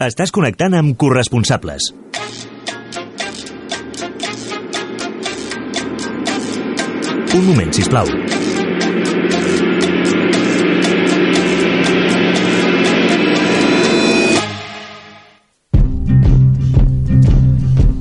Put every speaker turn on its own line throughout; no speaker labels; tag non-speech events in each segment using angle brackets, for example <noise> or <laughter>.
Estàs connectant amb corresponsables. Un moment, si plau.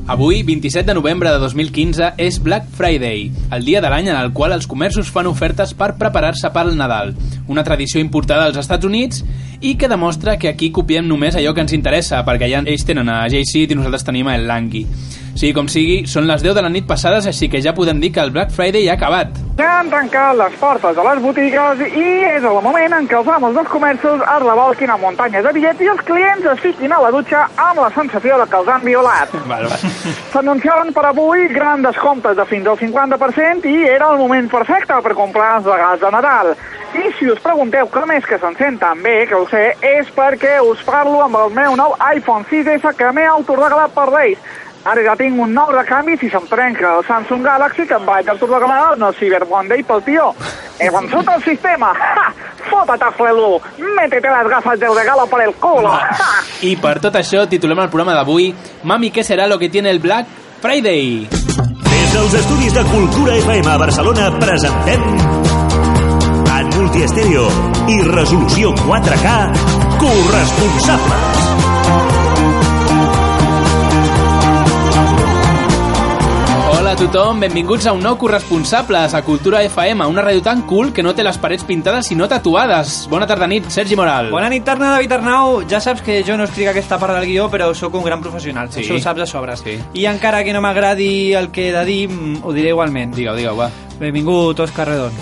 Avui, 27 de novembre de 2015, és Black Friday, el dia de l'any en el qual els comerços fan ofertes per preparar-se per al Nadal, una tradició importada als Estats Units i que demostra que aquí copiem només allò que ens interessa, perquè allà ells tenen a JC i nosaltres tenim a El Langui. Sigui com sigui, són les 10 de la nit passades, així que ja podem dir que el Black Friday ja ha acabat.
Ja han tancat les portes de les botigues i és el moment en què els amos dels comerços es revolquin a muntanyes de bitllets i els clients es fiquin a la dutxa amb la sensació de que els han violat.
<laughs> Val, val.
S'anunciaven per avui grans descomptes de fins al 50% i era el moment perfecte per comprar els regals de Nadal. I si us pregunteu com és que se'n sent tan bé, que ho sé, és perquè us parlo amb el meu nou iPhone 6S que m'he autoregalat per Reis. Ara ja tinc un nou recanvi si se'm trenca el Samsung Galaxy que em vaig autoregalar en el Cyber Monday pel tio. He vençut el sistema! Ha! Fota-te, Flelu! Métete las gafas del regalo por el culo! Ha!
I per tot això titulem el programa d'avui Mami, què serà lo que tiene el Black Friday?
Des dels estudis de Cultura FM a Barcelona presentem en multiestèreo i resolució 4K corresponsables.
Hola a tothom, benvinguts a un nou Corresponsables a Cultura FM, una ràdio tan cool que no té les parets pintades sinó tatuades. Bona tarda nit, Sergi Moral.
Bona nit, Tarna, David Arnau. Ja saps que jo no escric aquesta part del guió, però sóc un gran professional.
Sí.
Això ho saps de sobres.
Sí.
I encara que no m'agradi el que he de dir, mm, ho diré igualment.
Digue-ho, digue-ho, va.
Benvingut, Òscar Redon.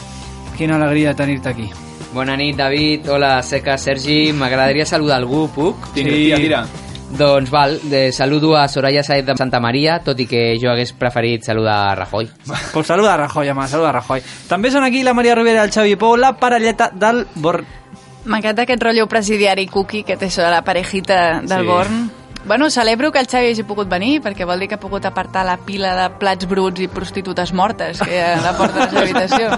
Quina alegria tenir-te aquí.
Bona nit, David. Hola, Seca, Sergi. M'agradaria saludar algú, puc?
Tira, tira, tira.
Doncs val, de, saludo a Soraya Saez de Santa Maria, tot i que jo hagués preferit saludar a Rajoy.
Pues saluda a Rajoy, home, saluda a Rajoy. També són aquí la Maria Rivera i el Xavi Pou, la parelleta del Born.
M'encanta aquest rotllo presidiari cookie que té sobre la parejita del
Sí.
sí. Born. Bueno, celebro que el Xavi hagi pogut venir, perquè vol dir que ha pogut apartar la pila de plats bruts i prostitutes mortes que hi ha a la porta de la
<laughs>
seva habitació.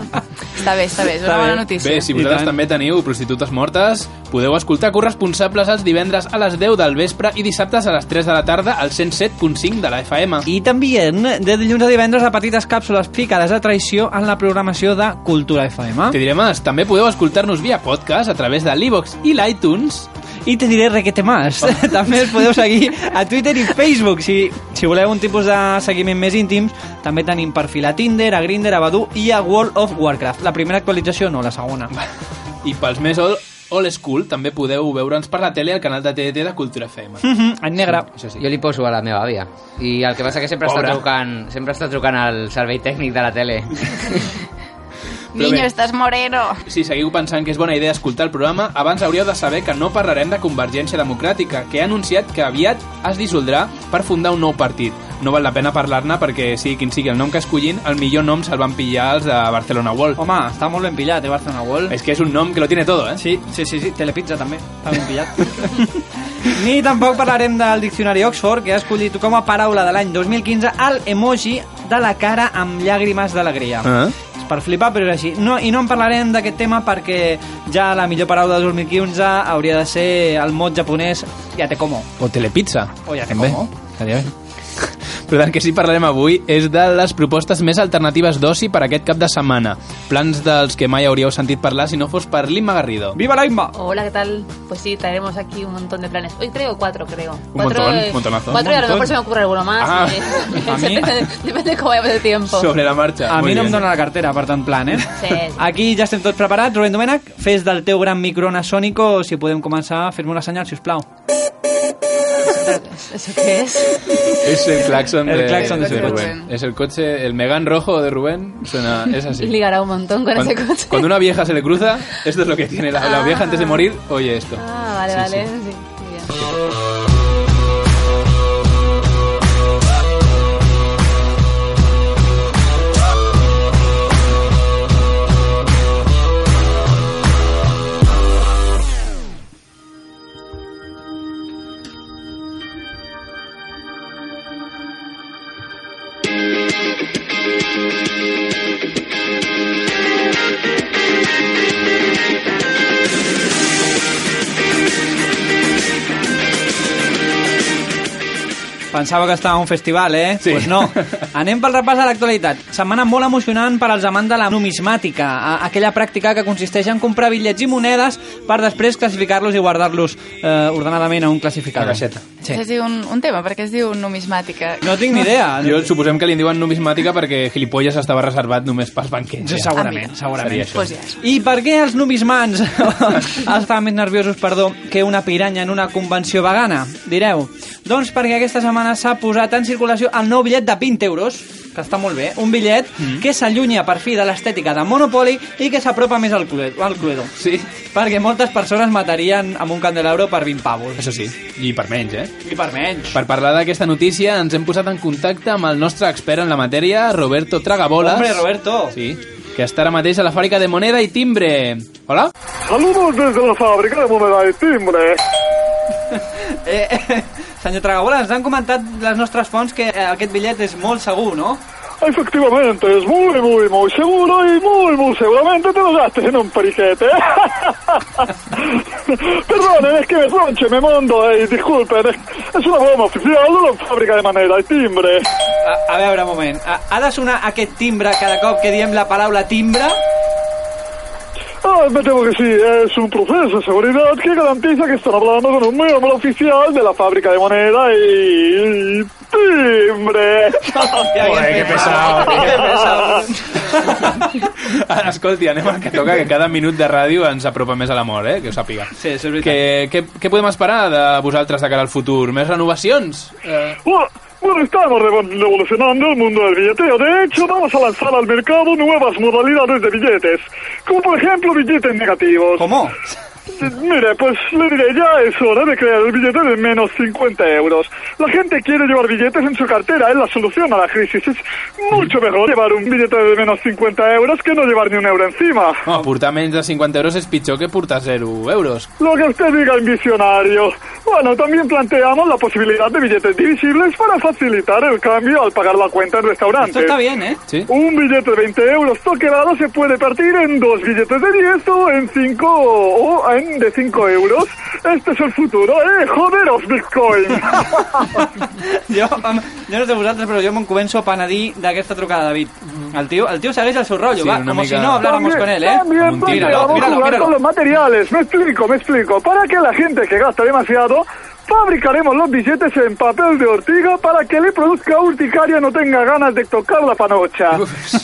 està bé, està bé, és
Està
una
bé.
bona notícia.
Bé, si
I
vosaltres
tant.
també teniu prostitutes mortes, podeu escoltar corresponsables els divendres a les 10 del vespre i dissabtes a les 3 de la tarda al 107.5 de la FM.
I també de dilluns a divendres a petites càpsules picades de traïció en la programació de Cultura FM.
Te diré més, també podeu escoltar-nos via podcast a través de l'Evox i l'iTunes. Oh.
I te diré requete más. <laughs> també els podeu seguir a Twitter i Facebook. Si, si voleu un tipus de seguiment més íntim, també tenim perfil a Tinder, a Grindr, a Badoo i a World of Warcraft. La primera actualització no,
<laughs>
la segona.
I pels més old, old school també podeu veure'ns per la tele al canal de TDT de Cultura FM.
<laughs> Mhm, en negre.
Això sí.
Jo li poso a la meva àvia. I el que passa que sempre està
Pobra.
trucant, sempre està trucant al servei tècnic de la tele.
Però
Niño,
bé.
estás moreno.
Si seguiu pensant que és bona idea escoltar el programa, abans hauríeu de saber que no parlarem de Convergència Democràtica, que ha anunciat que aviat es dissoldrà per fundar un nou partit. No val la pena parlar-ne perquè, sigui quin sigui el nom que escollin, el millor nom se'l van pillar els de Barcelona World.
Home, està molt ben pillat, eh, Barcelona World.
És que és un nom que lo tiene todo, eh?
Sí, sí, sí, sí, Telepizza també, està ben pillat. Ni tampoc parlarem del diccionari Oxford, que ha escollit com a paraula de l'any 2015 el emoji de la cara amb llàgrimes d'alegria.
Ah.
És per flipar, però és així. No, I no en parlarem d'aquest tema perquè ja la millor paraula de 2015 hauria de ser el mot japonès ya te como.
O Telepizza.
O ja
També.
com.
Estaria bé. <laughs> Però del que sí parlarem avui és de les propostes més alternatives d'oci per aquest cap de setmana. Plans dels que mai hauríeu sentit parlar si no fos per Lima Garrido.
Viva la Imba!
Hola, ¿qué tal? Pues sí, traeremos aquí un montón de planes. Hoy traigo cuatro, creo. cuatro,
montón,
eh,
montonazo.
Cuatro y a lo
Montón.
mejor se me ocurre alguno más.
Ah,
eh.
<laughs>
a mí-
<laughs> depende, depende cómo vayamos de tiempo.
Sobre la marxa.
A
Muy
mi no em
bien.
dóna la cartera, per tant, plan, eh?
Sí, sí.
Aquí ja estem tots preparats. Rubén Domènech, fes del teu gran microna sònico, si podem començar, fes-me una senyal, si us plau.
¿Eso qué es?
Es el claxon
El
de,
claxon
de
de su
Rubén.
coche.
Es el coche, el Megan rojo de Rubén. Suena, es
<laughs>
así.
Ligará un montón con
Cuando,
ese coche.
cuando una vieja se le
Ah.
cruza, esto es lo que tiene la, la vieja antes de morir, oye esto.
Ah, vale,
Sí, sí.
vale. sí, muy bien.
Pensava que estava a un festival, eh?
Sí.
Pues no. Anem pel repàs de l'actualitat. Setmana molt emocionant per als amants de la numismàtica, a- aquella pràctica que consisteix en comprar bitllets i monedes per després classificar-los i guardar-los eh, ordenadament a un classificador.
La caixeta.
Sí.
Es diu un, un tema, perquè es diu numismàtica.
No tinc ni idea.
Jo suposem que li en diuen numismàtica perquè gilipolles estava reservat només pels banquers. Ah,
Jo segurament,
Amiga.
segurament.
Seria això.
Pues ja.
I per què els numismans <laughs> estaven més nerviosos, perdó, que una piranya en una convenció vegana? Direu. Doncs perquè aquesta setmana s'ha posat en circulació el nou bitllet de 20 euros, que està molt bé, un bitllet
Mm.
que s'allunya per fi de l'estètica de Monopoly i que s'apropa més al Cluedo, al Cluedo.
Sí.
Perquè moltes persones matarien amb un candelabro per 20 pavos.
Això sí, i per menys, eh?
I per menys.
Per parlar d'aquesta notícia ens hem posat en contacte amb el nostre expert en la matèria, Roberto Tragabolas.
Hombre, Roberto.
Sí, que està ara mateix a la fàbrica de moneda i timbre.
<laughs>
Hola?
Saludos desde la fábrica de moneda de timbre.
Eh, eh, <laughs> senyor Tragabola, ens han comentat les nostres fonts que eh, aquest bitllet és molt segur, no?
Efectivamente, es muy, muy, muy seguro y muy, muy seguramente te lo gastes en un periquete. <laughs> Perdonen, es que me sonche, me mondo, eh, disculpen, es, es una broma oficial de la fábrica de manera y timbre.
A, a veure, un moment. Ha, ha de sonar aquest timbre cada cop que diem la paraula timbre?
Ah, me temo que sí, es un proceso de seguridad que garantiza que están hablando con un miembro oficial de la fábrica de moneda y... timbre. <laughs>
<laughs>
Joder, que pesado. Que pesado.
Ara, Escolti, anem al que toca, que cada minut de ràdio ens apropa més a l'amor, eh? Que ho sàpiga.
Sí, això és veritat.
Que, què, què podem esperar de vosaltres de cara al futur? Més renovacions?
Eh. Bueno, bueno, estamos revo- revolucionando el mundo del billeteo. De hecho, vamos a lanzar al mercado nuevas modalidades de billetes, como por ejemplo billetes negativos.
¿Cómo?
Eh, Mire, pues le diré, ya es hora de crear el billete de menos 50 euros. La gente quiere llevar billetes en su cartera, es la solución a la crisis. Es mucho mejor llevar un billete de menos 50 euros que no llevar ni un euro encima.
No, portar menys de 50 euros és pitjor que portar 0 euros.
Lo que usted diga, visionario. Bueno, también planteamos la posibilidad de billetes divisibles para facilitar el cambio al pagar la cuenta en restaurantes.
Esto está bien, ¿eh?
Sí?
Un billete de 20 euros toquerado se puede partir en dos billetes de 10 o en 5 o en de 5 euros. Este es el futuro, ¿eh? Joderos, Bitcoin.
<laughs> Jo, home, jo no sé vosaltres, però jo me'n començo a penedir d'aquesta trucada, David. El tio, el tio segueix el seu rotllo,
Sí,
va,
una
com si
mica-
no habláramos con él, ¿eh?
también
Míralo,
planteamos
míralo,
jugar
míralo.
con los materiales. Me explico, me explico. Para que la gente que gasta demasiado, fabricaremos los billetes en papel de ortiga para que le produzca urticaria y no tenga ganas de tocar la panocha.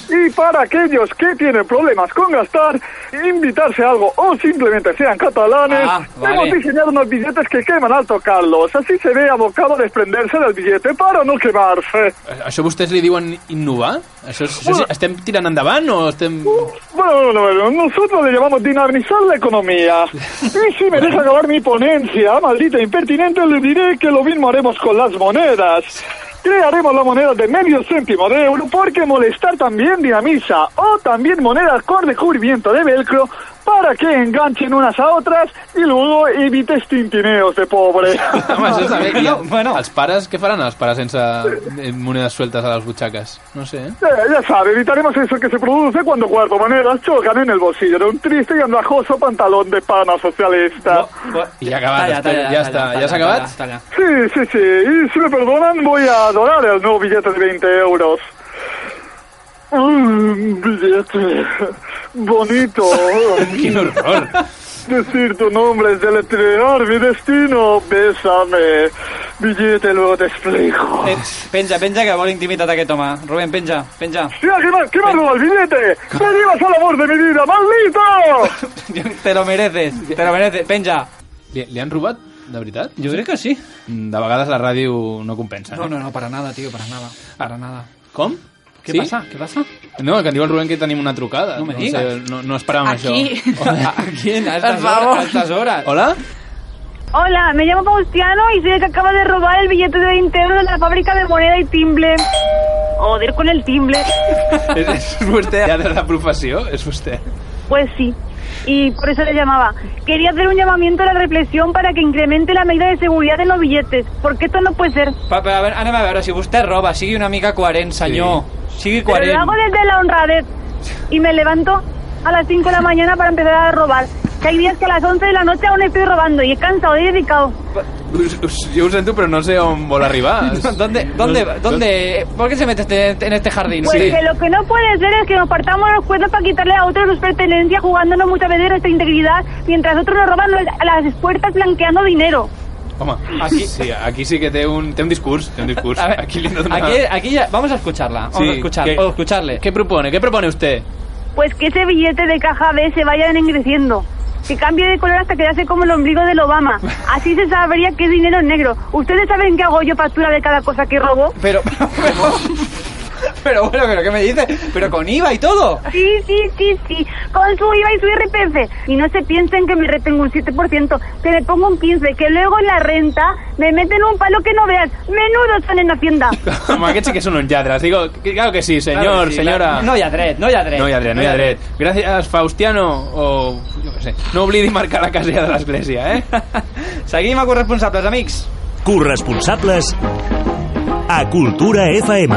Y para aquellos que tienen problemas con gastar, invitarse a algo o simplemente sean catalanes,
Ah, vale.
hemos diseñado unos billetes que queman al tocarlos. Así se ve abocado a desprenderse del billete para no quemarse.
A- Això vostès li diuen innovar? Això, és- això, és- estem tirant endavant o estem...
Uh.
Bueno, bueno, bueno, nosotros le llamamos dinamizar la economía. Y si me deja acabar mi ponencia, maldita impertinente, le diré que lo mismo haremos con las monedas. Crearemos la moneda de medio céntimo de euro porque molestar también dinamiza. O también monedas con recubrimiento de velcro para que enganchen unas a otras y luego evites tintineos de pobre.
Home, això està bé. que hi ha-
No, bueno.
Els pares, què faran els pares sense eh, monedes sueltes a les butxaques? No sé, eh?
Eh, ya sabe, evitaremos eso que se produce cuando cuatro monedas chocan en el bolsillo de un triste y andrajoso pantalón de pana socialista.
I ja ha acabat,
Talla,
espera,
talla,
ja
talla,
està,
talla,
ja s'ha
talla,
acabat?
talla.
Sí, sí, sí. Y si me perdonan, voy a eh. adorar el nuevo billete de 20 euros. Un billete bonito.
Quin horror!
Decir tu nombre es deletrear mi destino. Bésame. Billete, luego te explico.
Eh, penja, penja, que vol intimitat aquest home. Rubén, penja, penja.
¡Mira, que me, que me roba el billete! ¡Me llevas al amor de mi vida, maldito!
Te lo mereces, te lo mereces. Penja.
Li, li han robat? De veritat?
Jo crec que sí.
Mm, De vegades la ràdio no compensa. eh?
No, no, no, para nada, tío, para nada. Para nada.
Com?
Què
sí?
passa? Què passa?
No, que em diu el Rubén que tenim una trucada.
No me
no,
digues.
sé, no, no esperàvem
Aquí.
això. <laughs>
¿A quién? A estas
favor.
horas. A estas horas.
Hola?
Hola, me llamo Faustiano y soy el que acaba de robar el billete de 20 euros de la fábrica de moneda y timbre. Joder con el timbre.
és, és vostè ja de la professió? És vostè?
Pues sí. Y por eso le llamaba. Quería hacer un llamamiento a la reflexión para que incremente la medida de seguridad en los billetes, porque esto no puede ser.
Pa, pa, a veure, anem a veure, si vostè roba, sigui una mica coherent, senyor. Sigui
Pero lo
coherent.
hago desde la honradez y me levanto a las 5 de la mañana para empezar a robar. Que hay días que a las 11 de la noche aún estoy robando y he cansado y he dedicado.
Us- us- jo ho sento, però no sé on vol <laughs> arribar.
¿Dónde, dónde, dónde, ¿Por qué se mete este- en este jardín?
Pues que lo que no puede ser es que nos partamos los cuernos para quitarle a otros sus pertenencias, jugándonos muchas veces nuestra integridad, mientras otros nos roban las- las puertas blanqueando dinero.
Home, aquí sí, aquí sí que té un, té un discurs, té un discurs.
A ver,
aquí li he de donar-
Aquí, aquí ya, vamos a escucharla. Vamos
Sí,
a escuchar,
que-
o escucharle.
¿Qué propone? ¿Qué propone usted?
Pues que ese billete de caja B se vaya ennegreciendo. Que cambie de color hasta quedarse como el ombligo del Obama. Así se sabría que es dinero negro. ¿Ustedes saben qué hago yo factura de cada cosa que robo?
Pero, pero, pero bueno, pero ¿qué me dice? Pero con IVA y todo.
Sí, sí, sí, sí. Con su IVA y su IRPF. Y no se piensen que me retengo un 7%, que me pongo un 15%, que luego en la renta me meten un palo que no veas. Menudo son en Hacienda.
Home, aquests sí que són uns lladres. Digo, que- claro que sí, señor,
Claro que sí,
señora.
claro. No hi ha dret, no hi ha dret.
No hi ha dret, no hi ha dret. Gràcies, Faustiano, o... Jo què sé. No oblidi marcar la casella de l'església, eh?
<laughs> Seguim a corresponsables, amics.
Corresponsables a Cultura FM.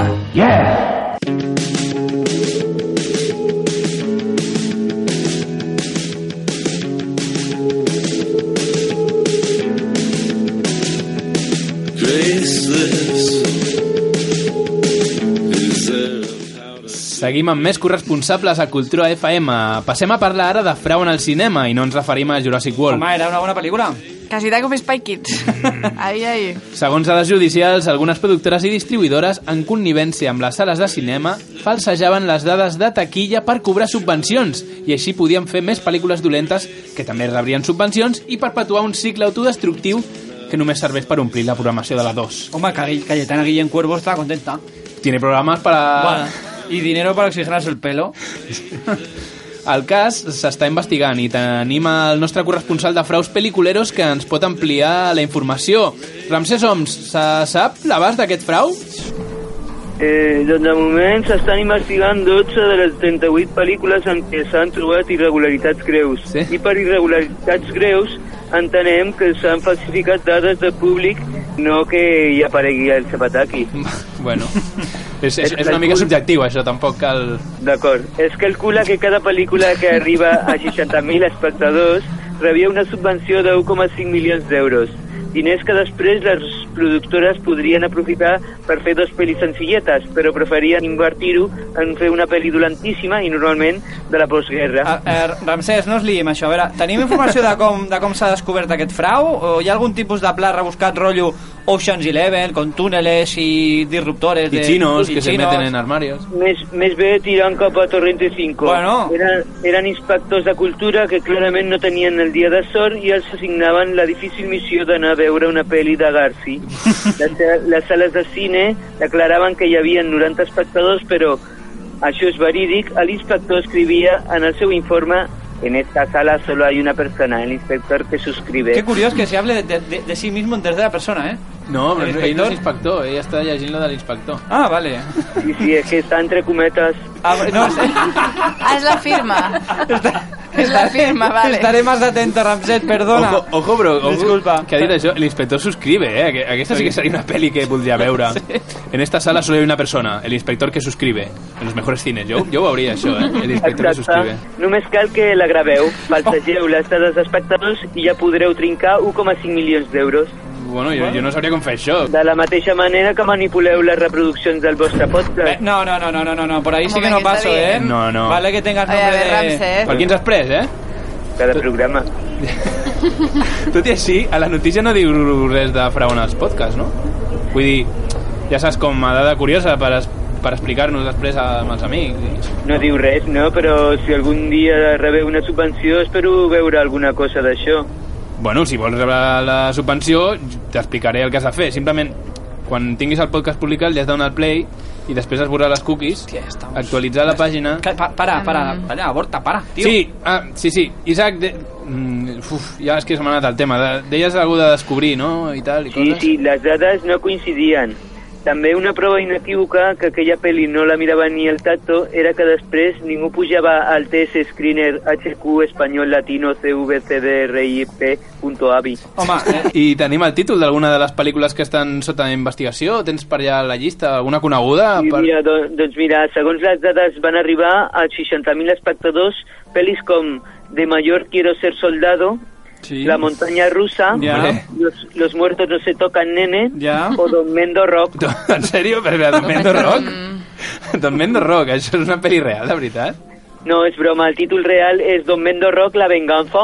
Seguim amb més corresponsables a Cultura FM. Passem a parlar ara de frau en el cinema i no ens referim a Jurassic World.
Home, era una bona pel·lícula.
Quasi tant com Spy Kids.
Mm.
Ai, ai.
Segons dades judicials, algunes productores i distribuïdores, en connivència amb les sales de cinema, falsejaven les dades de taquilla per cobrar subvencions i així podien fer més pel·lícules dolentes que també rebrien subvencions i perpetuar un cicle autodestructiu que només serveix per omplir la programació de la 2.
Home, que Cayetana Guillén Cuervo está contenta.
Tiene programes per a...
Bueno, y dinero para oxigenarse el pelo.
El cas s'està investigant i tenim el nostre corresponsal de fraus pel·liculeros que ens pot ampliar la informació. Ramsès Oms, se sap l'abast d'aquest frau?
Eh, doncs de moment s'estan investigant 12 de les 38 pel·lícules en què s'han trobat irregularitats greus.
Sí.
I per irregularitats greus entenem que s'han falsificat dades de públic, no que hi aparegui el Zapataki.
Bueno, és, és, és una mica subjectiu això, tampoc cal...
D'acord. Es calcula que cada pel·lícula que arriba a 60.000 espectadors rebia una subvenció de 1,5 milions d'euros. Diners que després les productores podrien aprofitar per fer dos pel·lis senzilletes, però preferien invertir-ho en fer una pel·li dolentíssima i normalment de la postguerra.
A, eh, Ramsès, no us liem això. A veure, tenim informació de com, de com s'ha descobert aquest frau? O hi ha algun tipus de pla rebuscat rotllo Ocean's Eleven, con túneles i disruptores?
I
de-
xinos que se
xinos?
meten en armarios.
Més, més bé tirant cap a Torrente 5.
Bueno.
Era, eren inspectors de cultura que clarament no tenien el dia de sort i els assignaven la difícil missió d'anar a veure una pel·li de
<laughs>
Garci. Les, les sales de cine declaraven que hi havia 90 espectadors, però això és verídic. L'inspector escrivia en el seu informe en esta sala solo hay una persona, el inspector que suscribe.
Qué curioso que se hable de, de, de sí mismo en tercera persona, ¿eh?
No, però
El
ell no
inspector?
és inspector, ell està llegint la de l'inspector.
Ah, vale.
I si és que està entre cometes...
Ah, no, sé.
Ah, és la firma. És la firma, vale.
Estaré más atento, Ramsés, perdona.
Ojo, ojo, bro, ojo,
Disculpa.
que ha dit això, l'inspector subscribe, eh? Aqu- Aquesta sí que seria una pel·li que
<laughs>
voldria veure. En esta sala solo hay una persona, el inspector que subscribe. En los mejores cines, jo, jo ho veuria això, eh? El inspector que subscribe.
Només cal que la graveu, falsegeu les dades d'espectadors i ja podreu trincar 1,5 milions d'euros.
Bueno, jo, jo no sabria com fer això.
De la mateixa manera que manipuleu les reproduccions del vostre
Eh,
podcast.
No, no, no, no, no, no, no, por ahí
Un
sí que no
momento,
paso,
está
¿eh?
bien.
No, no.
Vale que tengas
Ai,
nombre
a veure,
de...
Ramsès.
Per qui ens has pres, eh?
Cada programa.
Tot i així, a la notícia no diu res de frau en els podcasts, no? Vull dir, ja saps com a dada curiosa per, es, per explicar-nos després amb els amics.
No diu res, no? Però si algun dia rebeu una subvenció, espero veure alguna cosa d'això.
Bueno, si vols rebre la subvenció, t'explicaré el que has de fer. Simplement, quan tinguis el podcast publicat, li has de donar el play i després esborrar les cookies,
Hòstia, estamos-
actualitzar la pàgina...
Ca- pa- para, para, para, aborta, para, tío.
Sí, ah, sí, sí, Isaac... De... Mm, uf, ja és que se m'ha anat el tema. De- Deies algú de descobrir, no? I tal, i
Sí,
coses.
sí, les dades no coincidien. També una prova inequívoca que aquella pel·li no la mirava ni el Tato era que després ningú pujava al test screener HQ espanyol latino cvcdrip.avi.
Home, eh,
I tenim el títol d'alguna de les pel·lícules que estan sota investigació? Tens per allà la llista? Alguna coneguda?
Sí,
Per...
mira, do- doncs mira, segons les dades van arribar a 60.000 espectadors pel·lis com De mayor quiero ser soldado, La Montaña Rusa,
Ya.
los, los Muertos No Se Tocan Nene,
Ya.
o Don Mendo Rock.
En sèrio? Per veure, Don Mendo Rock? Don Mendo Rock, això és una pel·li real, de veritat?
No, es broma, el título real es Don Mendo Rock, La Venganza.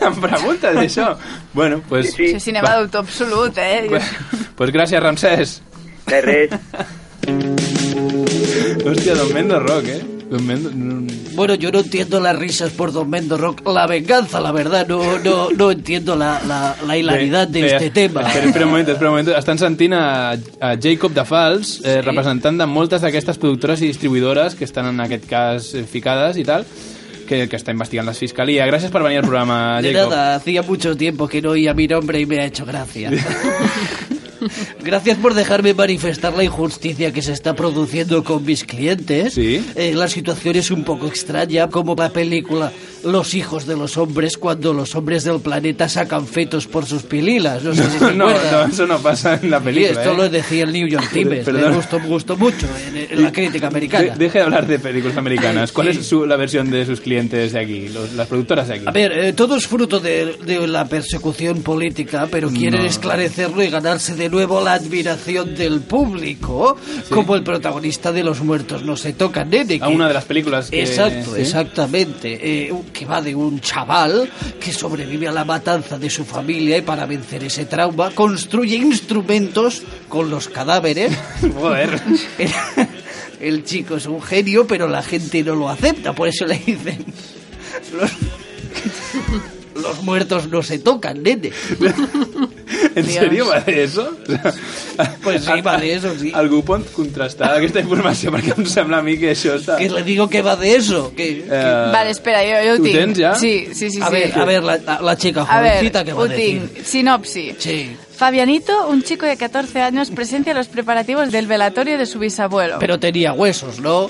Em preguntes això? Bueno, pues,
Sí, sí. cinema d'autor absolut, eh?
Bé, pues gràcies, Ramsès.
De res.
Hòstia, Don Mendo Rock, eh? Don Mendo... no, no.
Bueno, yo no entiendo las risas por Don Mendo Rock. La venganza, la verdad, no, no, no entiendo la, la, la hilaridad de
Bé,
este tema.
Espera, espera un moment, espera un moment. Estan sentint a, a Jacob de Fals, eh, representant de moltes d'aquestes productores i distribuïdores que estan en aquest cas eh, ficades i tal, que, que està investigant la fiscalia. Gràcies per venir al programa,
De
Jacob. <laughs>
nada, hacía mucho tiempo que no oía mi nombre y me ha hecho gracia. <laughs> Gracias por dejarme manifestar la injusticia que se está produciendo con mis clientes. Eh, la situación es un poco extraña, como la película Los hijos de los hombres, cuando los hombres del planeta sacan fetos por sus pililas. No sé si
<laughs> No,
te
no,
acuerdas.
eso no pasa en la película.
esto
¿eh?
lo decía el New York Times. Me
Perdón.
gustó, me gustó mucho en, en la crítica americana.
De- deje de hablar de películas americanas. ¿Cuál es su- la versión de sus clientes de aquí, los- las productoras de aquí?
A ver, eh, todo es fruto de, de la persecución política, pero quieren
No.
esclarecerlo y ganarse de nuevo la admiración del público, como el protagonista de Los Muertos No Se Toca, Nene.
A una de las películas que-
Exacto,
¿sí?
exactamente. eh, un- que va de un chaval que sobrevive a la matanza de su familia y para vencer ese trauma construye instrumentos con los cadáveres.
<laughs> Joder.
<laughs> El, el chico es un genio, pero la gente no lo acepta, por eso le dicen... "Los los muertos no se tocan, nene.
¿En serio va de eso?
Pues sí, va de eso, sí.
Algú pot contrastar aquesta informació perquè em sembla a mi que això està...
Que le digo que va de eso. Que,
Eh,
Vale, espera, jo, jo ho
Ho
tinc.
tens ja?
Sí, sí, sí.
a
sí.
ver, a ver, la, la chica
A ver,
jovencita que va a
ho
decir.
tinc. Sinopsi.
Sí.
Fabianito, un chico de 14 años, presencia los preparativos del velatorio de su bisabuelo.
Pero tenía huesos, ¿no?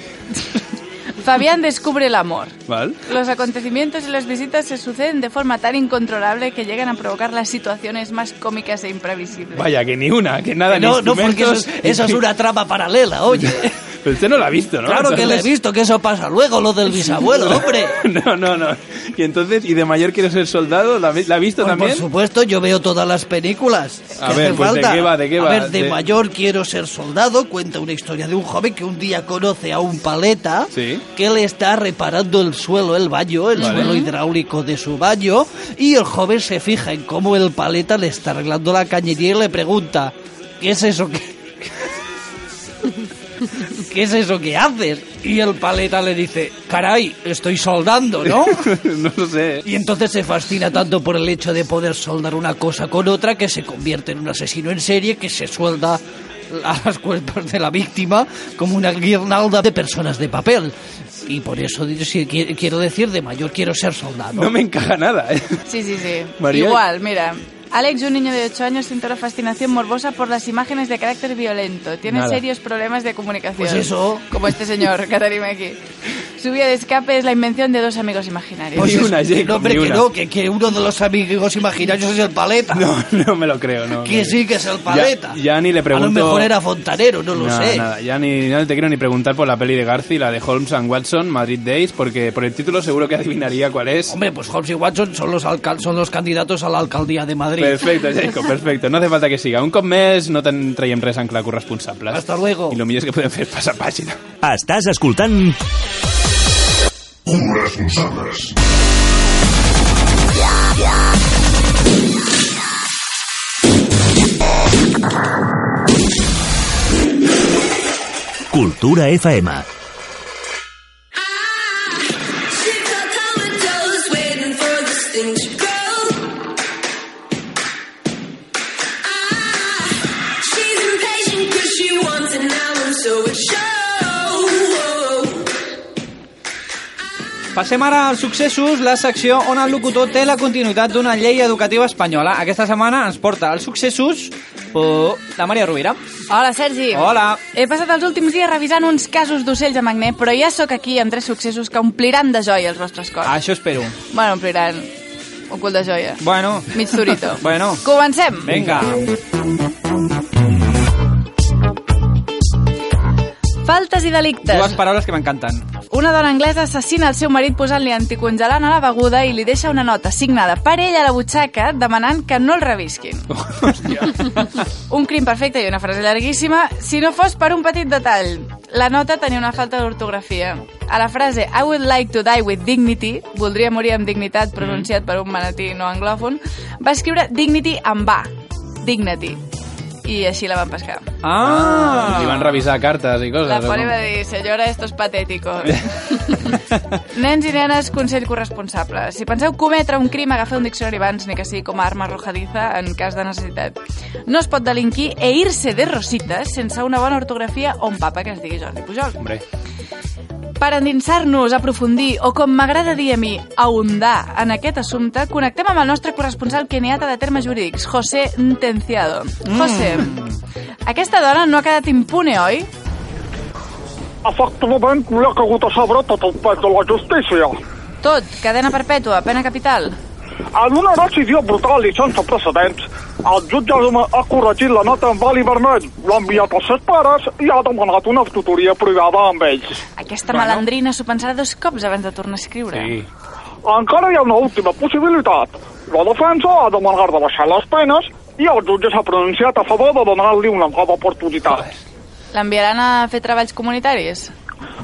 Fabián descubre el amor.
Val.
Los acontecimientos y las visitas se suceden de forma tan incontrolable que llegan a provocar las situaciones más cómicas e imprevisibles.
Vaya, que ni una, que nada,
No,
ni
no, porque eso es,
instrumentos.
eso es una trama paralela, oye.
<laughs> Pero usted no la ha visto, ¿no?
Claro que le he visto que eso pasa luego, lo
<laughs>
del bisabuelo, hombre.
No, no, no. Y entonces, ¿y de mayor quiero ser soldado? ¿La, la ha visto
Pues,
también?
por supuesto, yo veo todas las películas. que
A ver,
hacen
pues, ¿de
falta.
qué va, de qué
A
va?
ver, de,
De-
mayor quiero ser soldado. Cuenta una historia de un joven que un día conoce a un paleta
Sí.
que le está reparando el suelo, el baño, el
Vale.
suelo hidráulico de su baño. Y el joven se fija en cómo el paleta le está arreglando la cañería y le pregunta: ¿Qué es eso que.? <laughs> ¿Qué es eso que haces? Y el paleta le dice, caray, estoy soldando, ¿no?
<laughs> no lo sé.
Y entonces se fascina tanto por el hecho de poder soldar una cosa con otra que se convierte en un asesino en serie que se suelda a las cuerpos de la víctima como una guirnalda de personas de papel. Y por eso di- si qui- quiero decir, de mayor quiero ser soldado.
No me encaja nada, ¿eh?
Sí, sí, sí.
María-
Igual, mira. Alex, un niño de 8 años, siente una fascinación morbosa por las imágenes de carácter violento. Tiene
Nada.
serios problemas de comunicación.
Pues eso.
Como este señor, <laughs> Katarina aquí. Su vía de escape es la invención de dos amigos imaginarios.
Pues
Ni
es-
una, Jacob,
no, hombre,
ni
que
una.
no, que, que uno de los amigos imaginarios es el paleta.
No, no me lo creo, no.
que sí, que es el paleta.
Ya, ya ni le pregunto...
A lo mejor era fontanero, no lo
Nada,
sé.
nada, ya ni no te quiero ni preguntar por la peli de Garci, la de Holmes and Watson, Madrid Days, porque por el título seguro que adivinaría cuál es.
Hombre, pues Holmes y Watson son los, alcal- son los candidatos a la alcaldía de Madrid.
Perfecte, Jacob,
<laughs>
perfecte. No hace falta que siga. Un cop més no te'n traiem res en clar corresponsables.
Hasta luego.
I el millor és que podem fer és passar pàgina.
Estàs escoltant
Corresponsables.
Cultura FM.
Passem ara als successos, la secció on el locutor té la continuïtat d'una llei educativa espanyola. Aquesta setmana ens porta als successos oh, la Maria Rovira.
Hola, Sergi.
Hola.
He passat els últims dies revisant uns casos d'ocells a magnet, però ja sóc aquí amb tres successos que ompliran de joia els vostres cors.
Això espero.
Bueno, ompliran un cul de joia.
Bueno.
Mig turito.
<laughs> Bueno.
Comencem.
Vinga.
Faltes i delictes.
Dues paraules que m'encanten.
Una dona anglesa assassina el seu marit posant-li anticongelant a la beguda i li deixa una nota signada per ell a la butxaca demanant que no el revisquin. un crim perfecte i una frase llarguíssima si no fos per un petit detall. La nota tenia una falta d'ortografia. A la frase I would like to die with dignity, voldria morir amb dignitat pronunciat per un manatí no anglòfon, va escriure dignity amb A, dignity. I així la van pescar.
Ah! I van revisar cartes i coses.
La
o
Poli
com?
va dir, senyora, esto es patético. Nens i nenes, consell corresponsable. Si penseu cometre un crim, agafeu un diccionari abans, ni que sigui com a arma arrojadiza en cas de necessitat. No es pot delinquir e irse de rosites sense una bona ortografia o un papa que es digui Jordi Pujol.
Hombre.
Per endinsar-nos, aprofundir o, com m'agrada dir a mi, ahondar en aquest assumpte, connectem amb el nostre corresponsal keniata de termes jurídics, José Ntenciado.
Mm.
José, aquesta dona no ha quedat impune, oi?
Efectivament, li ha caigut a sobre tot el pes de la justícia.
Tot, cadena perpètua, pena capital.
En una decisió brutal i sense precedents, el jutge ha- ha corregit la nota en vali vermell, l'ha enviat als seus pares i ha demanat una tutoria privada amb ells.
Aquesta malandrina s'ho pensarà dos cops abans de tornar a escriure. Sí.
Encara hi ha una última possibilitat. La defensa ha demanat de baixar les penes i el jutge s'ha pronunciat a favor de donar-li una nova oportunitat.
L'enviaran a fer treballs comunitaris?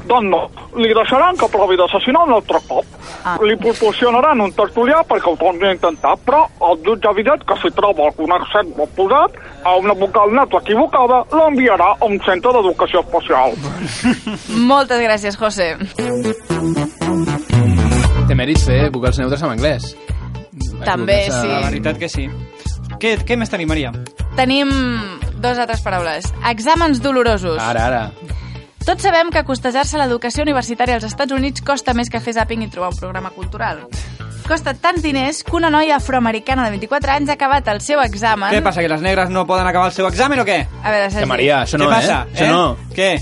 Doncs no, li deixaran que provi d'assassinar un altre cop.
Ah.
Li proporcionaran un tertulià perquè ho torni a intentar, però el jutge ha avisat que si troba algun accent molt posat a una vocal nata equivocada, l'enviarà a un centre d'educació especial.
Moltes gràcies, José.
Té mèrits fer vocals neutres en anglès.
També,
Equivocar-se-
La veritat que sí. Què, què més tenim, Maria?
Tenim dos altres paraules. Exàmens dolorosos.
Ara, ara.
Tots sabem que costejar-se l'educació universitària als Estats Units costa més que fer zapping i trobar un programa cultural. Costa tants diners que una noia afroamericana de 24 anys ha acabat el seu examen...
Què passa, que les negres no poden acabar el seu examen o què?
A veure, Sergi.
què passa? eh? Què?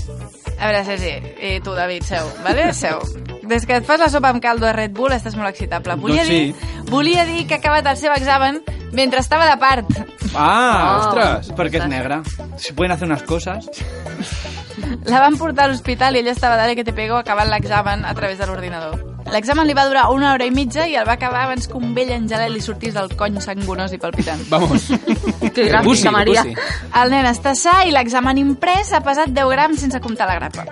A veure, Sergi, i tu, David, seu, vale? Seu. Des que et fas la sopa amb caldo de Red Bull estàs molt excitable. Volia,
Doncs sí.
dir, volia dir que ha acabat el seu examen mentre estava de part.
Ah,
Oh.
ostres, perquè és negra. Se pueden hacer unas cosas.
La van portar a l'hospital i ella estava dale que te pego acabant l'examen a través de l'ordinador. L'examen li va durar una hora i mitja i el va acabar abans que un vell angelet li sortís del cony sangonós i palpitant.
<laughs> Vamos.
Que
gran Pussy, pinta, Maria. pussy.
El nen està sa i l'examen imprès ha pesat 10 grams sense comptar la grapa.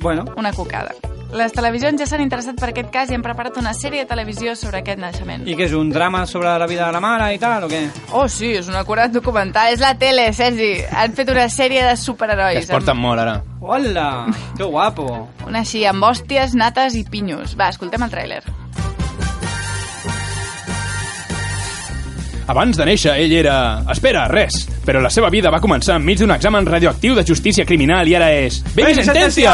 Bueno.
Una cocada. Les televisions ja s'han interessat per aquest cas i han preparat una sèrie de televisió sobre aquest naixement.
I què és, un drama sobre la vida de la mare i tal, o què?
Oh, sí, és un acurat documental. És la tele, Sergi. Han fet una sèrie de superherois.
Que es porten molt, ara.
Hola, que guapo.
Una així, amb hòsties, nates i pinyos. Va, escoltem el tràiler.
Abans de néixer, ell era... Espera, res. Però la seva vida va començar enmig d'un examen radioactiu de justícia criminal i ara és... Vegi sentència!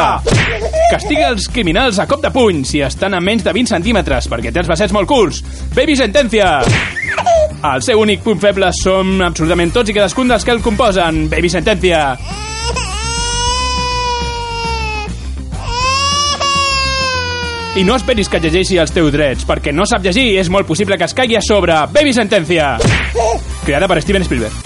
Castiga els criminals a cop de puny si estan a menys de 20 centímetres perquè té els bassets molt curts. Baby sentència! El seu únic punt feble són absolutament tots i cadascun dels que el composen. Baby sentència! I no esperis que llegeixi els teus drets, perquè no sap llegir i és molt possible que es caigui a sobre. Baby sentència! Creada per Steven Spielberg.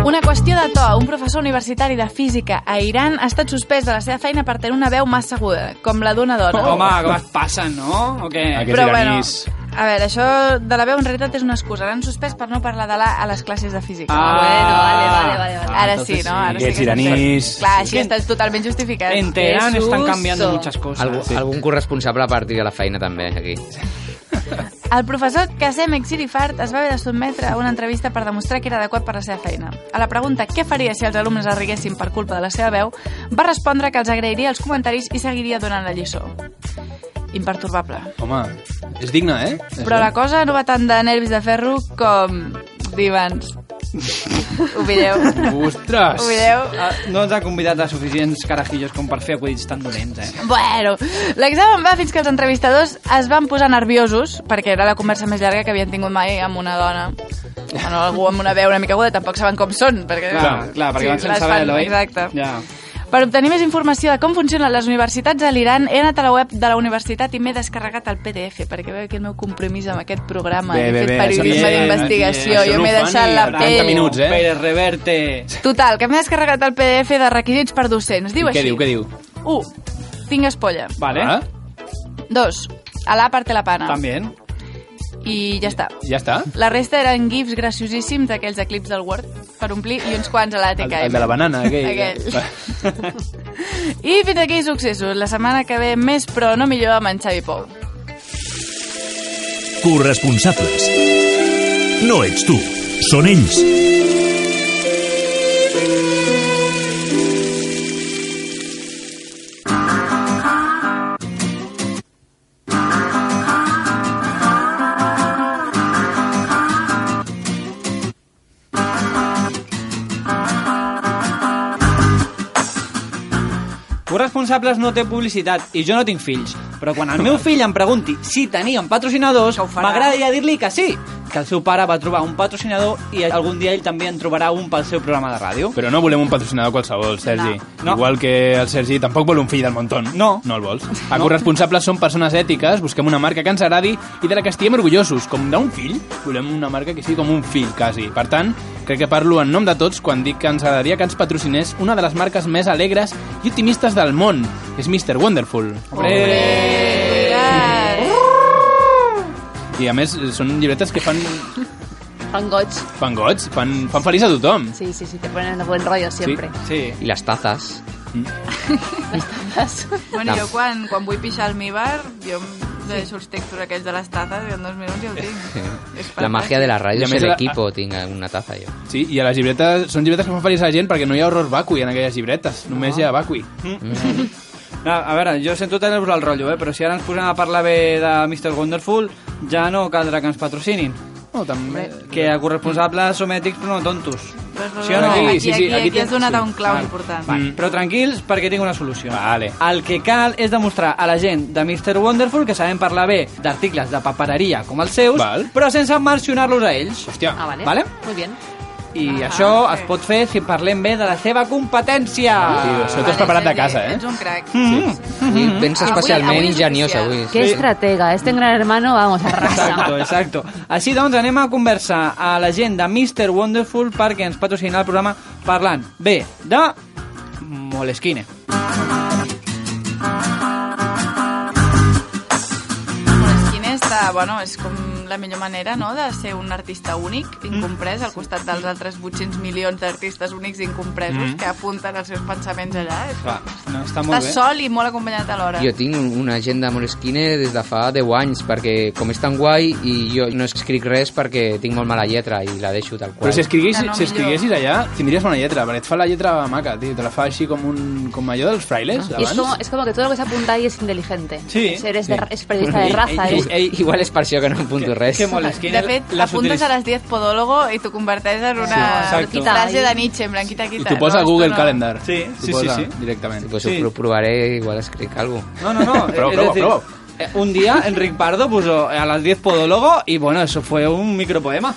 Una qüestió de to. Un professor universitari de física a Iran ha estat suspès de la seva feina per tenir una veu massa aguda, com la d'una dona.
Oh, Home, com es passa, no? O què?
Aquests Però, iranís.
A veure, això de la veu en realitat és una excusa. L'han suspès per no parlar de la a les classes de física.
Ah. Bueno, vale, vale, vale, vale.
Ara
Ah,
sí,
entonces
no?
sí.
Ara sí.
Aquests
que s'ha
iranís.
fet. Clar, així estàs totalment justificat.
En Teherán están cambiando muchas cosas.
Algú, sí. Algun corresponsable a partir de la feina, també, aquí.
El professor Qasem Exirifart es va haver de sotmetre a una entrevista per demostrar que era adequat per la seva feina. A la pregunta què faria si els alumnes arriguessin per culpa de la seva veu, va respondre que els agrairia els comentaris i seguiria donant la lliçó. Imperturbable.
Home, és digne, eh?
Però la cosa no va tant de nervis de ferro com
<laughs>
divans. Ho veieu?
Ostres!
Ho veieu?
Ah, No ens ha convidat a suficients carajillos com per fer acudits tan dolents, eh?
Bueno, l'examen va fins que els entrevistadors es van posar nerviosos perquè era la conversa més llarga que havien tingut mai amb una dona. Bueno, algú amb una veu una mica aguda, tampoc saben com són. Perquè,
Clar, clar, perquè van sense
les fan,
veu, oi?
Exacte.
Ja.
Per obtenir més informació de com funcionen les universitats a l'Iran, he anat a la web de la universitat i m'he descarregat el PDF, perquè veu que el meu compromís amb aquest programa
Bé,
he
bé,
fet
bé, això
periodisme
no- Això
d'investigació,
no
jo
ho
m'he
fan
deixat
ni
la
a 30
pell.
minuts, eh?
Pérez Reverte.
Total, que m'he descarregat el PDF de requisits per docents. Diu
Què
així.
diu, què diu?
1. Tingues polla.
Vale.
2. Alà parte la pana.
También.
I ja està.
Ja està.
La resta eren gifs graciosíssims d'aquells de clips del Word per omplir i uns quants a la
El,
TKM.
el de la banana, aquell.
Aquell. I fins aquí successos. La setmana que ve més però no millor amb en Xavi Pou.
Corresponsables. No ets tu, són ells.
Corresponsables no té publicitat i jo no tinc fills, però quan el meu fill em pregunti si teníem patrocinadors, m'agradaria dir-li que sí, que el seu pare va trobar un patrocinador i algun dia ell també en trobarà un pel seu programa de ràdio.
Però no volem un patrocinador qualsevol, Sergi.
No.
Igual que el Sergi tampoc vol un fill del montón. No. No el vols. A
No.
corresponsables som persones ètiques, busquem una marca que ens agradi i de la que estiguem orgullosos. Com d'un fill, volem una marca que sigui com un fill, quasi. Per tant, crec que parlo en nom de tots quan dic que ens agradaria que ens patrocinés una de les marques més alegres i optimistes del món. És Mr. Wonderful.
Oh.
I a més, són llibretes que fan,
Fan goig.
fan goig, fan, fan feliç a tothom.
Sí, sí, sí, te ponen de buen rollo siempre.
Mm. Sí.
I les tazas.
Bueno,
No.
jo quan, quan vull pixar al mi bar, jo em deixo els textos aquells de les tazes i en dos minuts ja ho tinc.
La màgia de la
I
ràdio
a
és
més la-
l'equip, tinc una taza jo.
Sí, i a les llibretes, són llibretes que fan feliç a la gent perquè no hi ha horror vacui en aquelles llibretes, només hi ha vacui. Mm.
No, a veure, jo sento tenir-vos el rotllo, eh? però si ara ens posem a parlar bé de Mr. Wonderful, ja no caldrà que ens patrocinin.
No, també...
Que a corresponsables som ètics però no tontos.
Sí o no? Aquí, aquí, aquí, aquí, has donat a un clau
Ah,
Vale.
important.
Vale. Però tranquils, perquè tinc una solució.
Mm. Vale.
El que cal és demostrar a la gent de Mr. Wonderful que sabem parlar bé d'articles de papereria com els seus,
Val.
però sense mencionar-los a ells.
Hòstia.
Ah, vale.
Vale?
Muy bien.
I això es pot fer si parlem bé de la seva competència.
Tio, això t'has preparat de casa, eh?
Ets un crac.
Mm.
Avui pensa
Avui-
especialment
avui és
ingeniós
especial.
avui.
Qué estratega. Este gran hermano, vamos, arrasa.
Exacto, exacto. Així doncs anem a conversar a la gent de Mr. Wonderful perquè ens patrocina el programa parlant bé de Moleskine.
Quina és, la- bueno, és com la millor manera no? de ser un artista únic,
Mm.
incomprès, al costat dels altres 800 milions d'artistes únics i incompresos
Mm.
Mhm.
que apunten els seus pensaments allà. És
Ah, Clar, no, està
Estàs sol i molt acompanyat alhora.
Jo tinc un- una agenda molt esquina des de fa 10 anys, perquè com és tan guai i jo no escric res perquè tinc molt mala lletra i la deixo tal qual.
Però si, escriguis, si escriguessis allà, tindries bona lletra, perquè et fa la lletra maca, tio, te la fa així com, un, com allò dels frailes,
Ah.
Y es
abans.
como, es como que todo lo que se apunta ahí es inteligente.
Sí.
Es- Eres,
Sí.
de, es
<laughs>
periodista de raza.
Ell,
eres-
ell, igual és per això que no apunto res.
que Moleskine
eh? De fet, apuntes a les 10 podólogo i t'ho converteix en
Sí,
una
exacto.
frase de Nietzsche, en blanquita,
I
quita.
t'ho posa a
no,
Google
esto no.
Calendar.
Sí,
T'ho
sí, sí,
posa
sí.
Directament.
Pues ho pro- provaré, igual escric alguna cosa.
No, no, no.
Prova,
es
prova,
decir,
prova.
eh, Un día Enric Pardo puso a las 10 podólogo y bueno, eso fue un micropoema.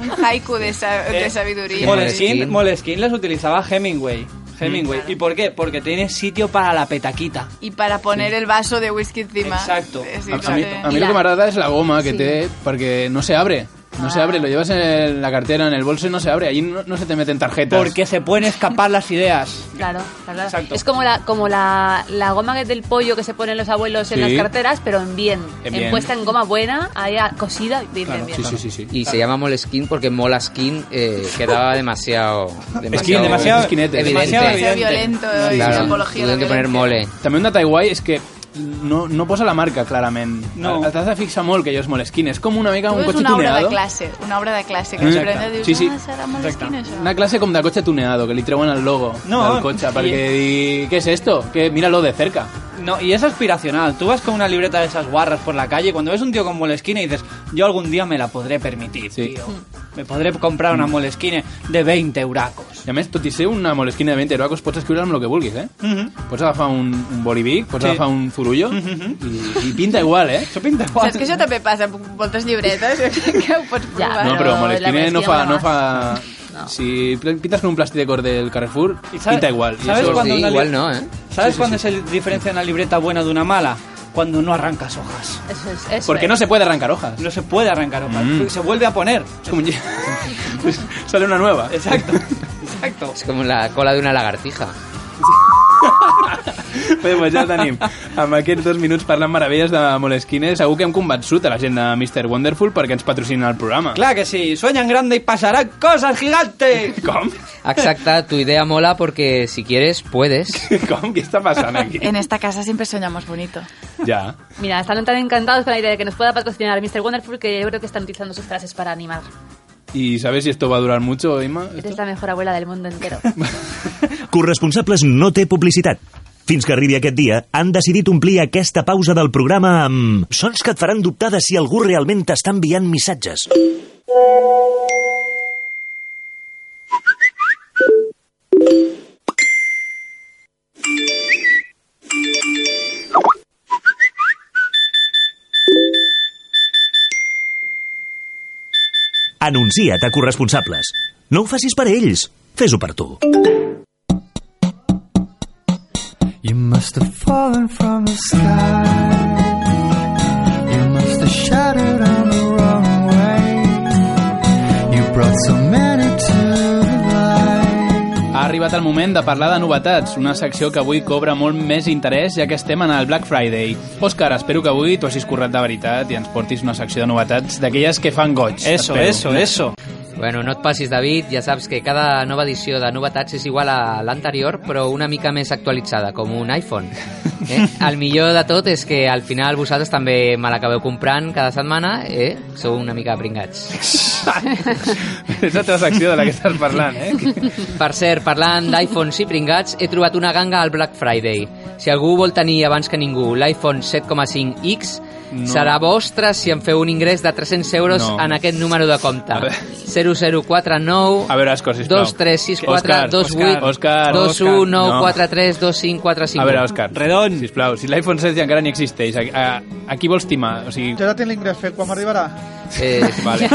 Un haiku de, sa
Eh,
de sabiduría.
Moleskine, Moleskine les utilizaba Hemingway. Hemingway. ¿Y por qué? Porque tiene sitio para la petaquita.
Y para poner el vaso de whisky encima.
Exacto.
Es
A,
decir,
a mi,
no
a mi
sé.
el que m'agrada és la goma que
Sí.
té, perquè no se abre. No se abre, lo llevas en la cartera, en el bolso y no se abre. Allí no, no se te meten tarjetas.
Porque se pueden escapar las ideas.
Claro, claro. Es como la, como la, la goma que- del pollo que se ponen los abuelos en
Sí.
las carteras, pero en bien.
En
En
bien.
puesta en goma buena, ahí a- cosida, bien, bien, bien.
Y se llama Moleskine porque Moleskine eh, quedaba demasiado...
Skin, demasiado esquinete. Demasiado
evidente.
violento
Sí,
y
claro.
apología
Podríem
de la
poner mole.
També un detall guai és que no, no posa la marca, clarament. No. T'has de fixar molt que allò és Moleskine. És com una mica
Todo
un
es
cotxe
una obra de
tuneado.
clase, una obra de clase que
Mm.
mm. sorprende dius,
Sí, sí.
ah, serà molt esquina, això.
Una clase com de cotxe tuneado, que li treuen el logo
No,
del cotxe
i-
perquè digui, què és esto? Que míralo de cerca.
No, y es aspiracional. Tú vas con una libreta de esas guarras por la calle y cuando ves un tío con Moleskine dices, yo algún día me la podré permitir, tío. Me podré comprar una Moleskine de 20 euracos.
I a més, tot i ser una Moleskine de 20 euros, pues pots escriure amb el que vulguis, eh? Pots agafar un, un bolivic, pots
Sí.
agafar un
<laughs>
zurullo i, i pinta igual, eh? Això
pinta
Saps que això també passa amb moltes <laughs> llibretes que ho pots provar.
No, però Moleskine no fa... No
fa...
fa... Si pl- pintas con un plasticor del Carrefour,
¿Sabe-
pinta igual. Y
¿Sabes
eso-
cuándo una li-
¿eh?
¿Sabes cuándo es el diferencia en la libreta buena de una mala? Cuando no arrancas hojas.
Eso es, eso
Porque
es.
no se puede arrancar hojas.
No se puede arrancar hojas.
Mm.
Se vuelve a poner.
<laughs> Sale una nueva.
Exacto.
<laughs>
Es como la cola de una lagartija.
Bé, doncs pues ja tenim. Amb aquests dos minuts parlant meravelles de Moleskine, segur que hem convençut a la gent de Mr. Wonderful perquè ens patrocina el programa.
Claro que sí, sueña en grande y pasarán cosas gigantes.
¿Cómo?
Exacta, tu idea mola porque si quieres,
<laughs>
puedes.
¿Cómo? ¿Qué está pasando aquí?
En esta casa siempre soñamos bonito.
Ya.
Mira, están tan encantados con la idea de que nos pueda patrocinar Mr. Wonderful que yo creo que están utilizando sus frases para animar.
¿Y sabes si esto va a durar mucho, Emma?
Eres la mejor abuela del mundo entero.
Corresponsables no té publicitat. Fins que arribi aquest dia, han decidit omplir aquesta pausa del programa amb... Sons que et faran dubtar de si algú realment t'està enviant missatges. Anuncia't a corresponsables. No ho facis per ells, fes-ho per tu.
You must have fallen from the sky. You must have shattered on the wrong way. You brought so many to life.
Ha arribat el moment de parlar de novetats, una secció que avui cobra molt més interès ja que estem en el Black Friday. Òscar, espero que avui t'ho hagis currat de veritat i ens portis una secció de novetats d'aquelles que fan goig.
Eso,
Espero.
eso, eso.
Bueno, no et passis, David, ja saps que cada nova edició de novetats és igual a l'anterior, però una mica més actualitzada, com un
<laughs>
iPhone. Eh? El millor de tot és que al final vosaltres també me l'acabeu comprant cada setmana, eh? sou una mica
<laughs>
pringats.
<laughs> És la teva secció de la que estàs parlant, eh?
Per cert, parlant d'iPhones i pringats, he trobat una ganga al Black Friday. Si algú vol tenir abans que ningú l'iPhone 7,5X,
No.
no. serà vostre si en feu un ingrés de 300 euros
No.
no. en aquest número de compte. 0049
A veure, Òscar, Ah, sisplau.
2, 3, 6, 4, 2, 8,
Òscar,
2, 1, 9,
No.
4, 3, 2, 5, 4, 5.
A veure, Òscar, redon. Sisplau, si l'iPhone 7 ja encara ni existeix, a, a, a qui vols timar? O sigui,
Jo ara tinc l'ingrés fet, quan m'arribarà?
Eh,
<laughs>
<laughs>
vale.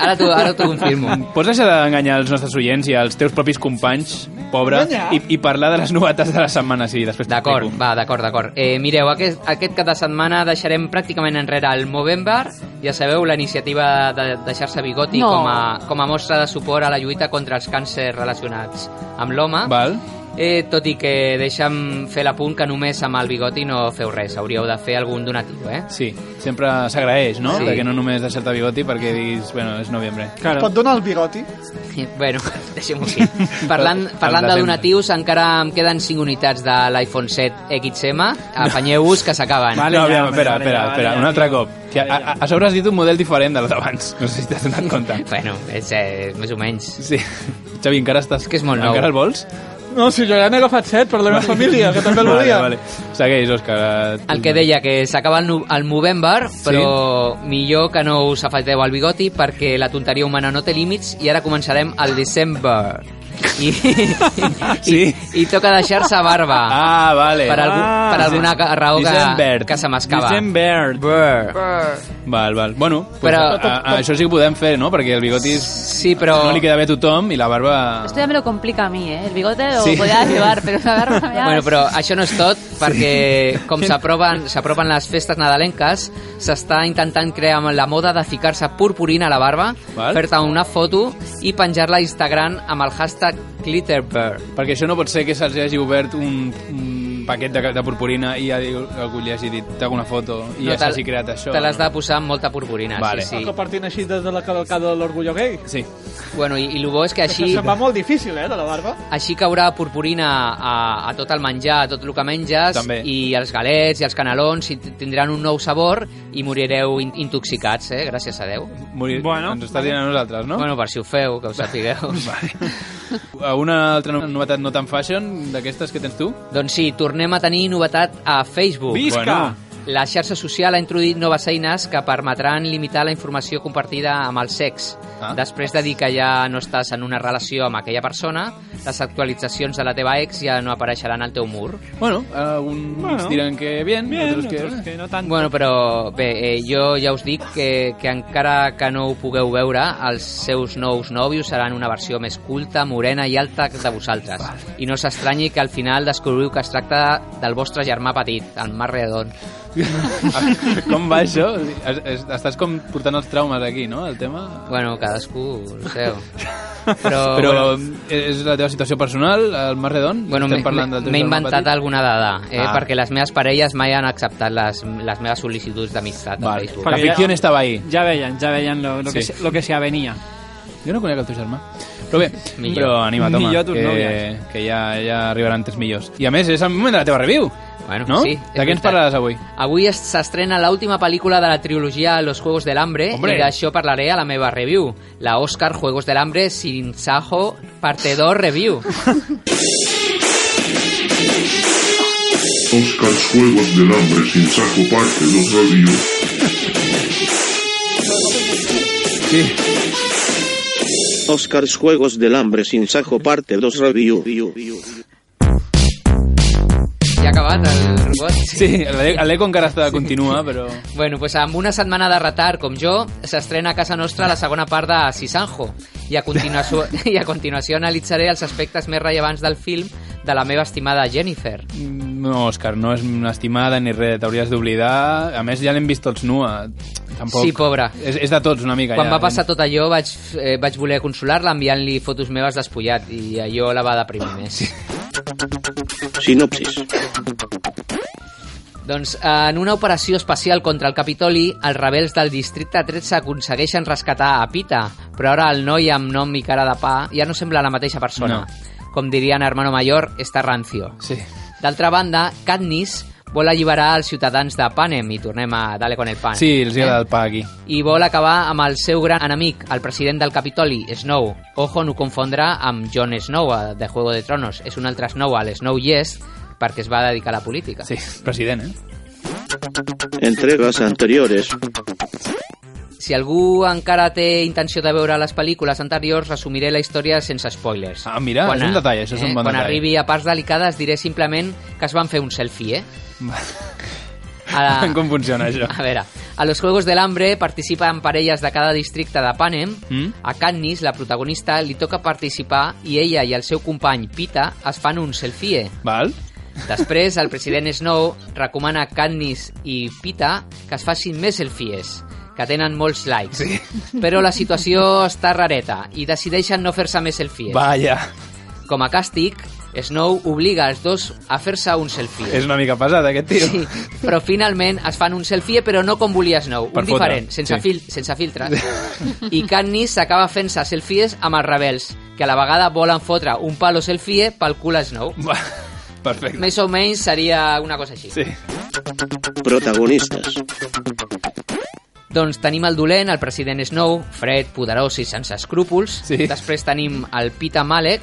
ara t'ho- ara t'ho confirmo.
<laughs> Pots deixar d'enganyar els nostres oients i els teus propis companys, pobre,
Enganyar?
i, i parlar de les novetats de la setmana, sí, després
D'acord, va, d'acord, d'acord. Eh, mireu, aquest, aquest cap de setmana deixarem pràcticament enrere el Movember, ja sabeu, la iniciativa de deixar-se bigoti
No.
com, a, com a mostra de suport a la lluita contra els càncers relacionats amb l'home.
Val.
Eh, tot i que deixa'm fer l'apunt que només amb el bigoti no feu res, hauríeu de fer algun donatiu, eh?
Sí, sempre s'agraeix, no?
Sí.
Sí. Perquè no només deixar-te bigoti perquè diguis, bueno, és novembre.
Claro. Pot donar el bigoti?
Bueno, <laughs> deixem-ho així. Parlant, parlant
El
de
desembre.
donatius, encara em queden 5 unitats de l'iPhone 7 XM. Apanyeu-vos, que s'acaben.
no, aviam, espera, espera, espera, un altre cop. Que a, a, a sobre has dit un model diferent de l'abans. No sé si t'has donat compte.
<laughs> bueno, és, eh, més o menys.
Sí. Xavi, encara estàs... que és molt
nou.
Encara el vols?
No, si jo ja n'he agafat set per la meva família, que també el volia.
Vale, vale. Segueix, Òscar.
El que deia que s'acaba el, nu- el Movember, però sí. millor que no us afeiteu el bigoti perquè la tonteria humana no té límits i ara començarem el December.
<laughs>
I, sí. i, i toca deixar-se barba.
Ah, vale.
Per, algú,
Ah,
per
sí.
alguna ca- raó que,
December.
que se m'escapa.
December. Val, val. Bueno, pues,
Però-
però, a, a, a, això sí que ho podem fer, no? Perquè el bigoti sí,
però...
no li queda bé a tothom i la barba...
Esto ya me lo complica a mí, ¿eh? El bigote lo
Sí.
podía llevar, pero la barba me da-
Bueno, però això no és tot, perquè com s'aproven s'apropen les festes nadalenques, s'està intentant crear amb la moda de ficar-se purpurina a la barba,
Val.
fer-te una foto i penjar-la a Instagram amb el hashtag Glitterbird.
Perquè això no pot ser que se'ls hagi obert un, un paquet de, de purpurina i ja diu- algú li hagi dit alguna foto i
No,
ja
te-
s'hagi creat això.
Te l'has de posar amb molta purpurina,
Vale.
sí,
El
sí.
que partin així des de la cavalcada de l'orgullo gay.
Sí.
Bueno, i, i el bo és que
Això
així...
se'n va molt difícil, eh, de la barba.
Així caurà purpurina a, a tot el menjar, a tot el que menges,
També.
i els galets i els canelons i t- tindran un nou sabor i morireu in intoxicats, eh? gràcies a Déu.
Morir... Bueno, Ens ho estàs dient a nosaltres, no?
Bueno, per si ho feu, que ho sapigueu.
<laughs> vale. Una altra no- novetat no tan fashion d'aquestes que tens tu?
Doncs sí, tornem a tenir novetat a Facebook.
Visca! Bueno.
La xarxa social ha introduït noves eines que permetran limitar la informació compartida amb el sex.
Ah.
Després de dir que ja no estàs en una relació amb aquella persona, les actualitzacions de la teva ex ja no apareixeran al teu mur.
Bueno, alguns
Bueno.
diran que bien,
Bien,
otros que...
otros
no
tant.
Bueno, però bé, eh, jo ja us dic que, que encara que no ho pugueu veure, els seus nous nòvios seran una versió més culta, morena i alta de vosaltres. I no s'estranyi que al final descobriu que es tracta del vostre germà petit, el Mar
<laughs>
Redon.
Com va això? Es, es, estàs com portant els traumes aquí, no? El tema...
Bueno, cadascú el seu. Però,
Però és la teva situació personal, el Mar Redon?
Bueno,
Estem
m'he
parlant del teu
m'he
germà
inventat
petit?
alguna dada, eh,
Ah.
perquè les meves parelles mai han acceptat les, les meves sol·licituds d'amistat a Facebook.
La ficció estava ahí.
Ja veien, ja veien lo, lo,
Sí.
que, se- lo que se avenia.
Jo no conec el teu germà. Però bé,
Millor.
però anima, Toma,
Millor tus
que,
nòvies.
que ja, ja arribaran tres millors. I a més, és el moment de la teva review.
Bueno,
no?
sí, és
De què ens
veritat.
parlaràs avui?
Avui es- s'estrena l'última pel·lícula de la trilogia Los Juegos del Hambre
Hombre.
i d'això parlaré a la meva review. La Oscar Juegos del Hambre sin Sajo parte 2
<laughs>
review.
Oscars Juegos del Hambre sin saco parte los radio.
Oscars Juegos del Hambre sin saco parte 2 review.
Ja ha acabat el robot?
Sí, l'E- l'Eco encara està, continua, però...
Bueno, pues amb una setmana de retard com jo, s'estrena a casa nostra la segona part de Sisanjo i a, continuació, <laughs> i a continuació analitzaré els aspectes més rellevants del film de la meva estimada Jennifer.
No, Òscar, no és una estimada ni res, t'hauries d'oblidar. A més, ja l'hem vist tots nua. Tampoc...
Sí, pobra.
És, és de tots, una mica.
Quan
ja.
va passar tot allò vaig, eh, vaig voler consolar-la enviant-li fotos meves despullat i allò la va deprimir
Ah,
més.
Sinopsis.
<laughs> Doncs eh, en una operació espacial contra el Capitoli, els rebels del districte 13 aconsegueixen rescatar a Pita, però ara el noi amb nom i cara de pa ja no sembla la mateixa persona. No. Com dirien Hermano Mayor, està rancio.
Sí.
D'altra banda, Katniss vol alliberar els ciutadans de Panem, i tornem a Dale con el Pan. Eh?
Sí, els agrada el pa aquí.
I vol acabar amb el seu gran enemic, el president del Capitoli, Snow. Ojo, no confondre amb Jon Snow, eh, de Juego de Tronos. És un altre Snow, el Snow Yes, perquè es va dedicar a la política.
Sí, president, eh?
Entregas anteriores.
Si algú encara té intenció de veure les pel·lícules anteriors, resumiré la història sense spoilers.
Ah, mira, és un detall, això és un bon
quan
detall.
arribi a parts delicades diré simplement que es van fer un selfie, eh? A la-
Com funciona això?
A veure, a los Juegos del Hambre participen parelles de cada districte de Panem.
Mm?
A Katniss, la protagonista, li toca participar i ella i el seu company Pita es fan un selfie.
Val.
Després, el president Snow recomana a Katniss i Pita que es facin més selfies, que tenen molts likes. Sí. Però la situació està rareta i decideixen no fer-se més selfies.
Vaja.
Com a càstig, Snow obliga els dos a fer-se un selfie.
És una mica pesat, aquest tio.
Sí, però finalment es fan un selfie, però no com volia Snow,
Per
un
fotre,
diferent, sense,
sí.
fil sense filtres. I Katniss s'acaba fent-se selfies amb els rebels, que a la vegada volen fotre un palo selfie pel cul a Snow.
Perfecte.
Més o menys seria una cosa així. Sí.
Protagonistas.
Doncs tenim el dolent, el president Snow, fred, poderós i sense escrúpols. Sí. Després tenim el Pita Malek,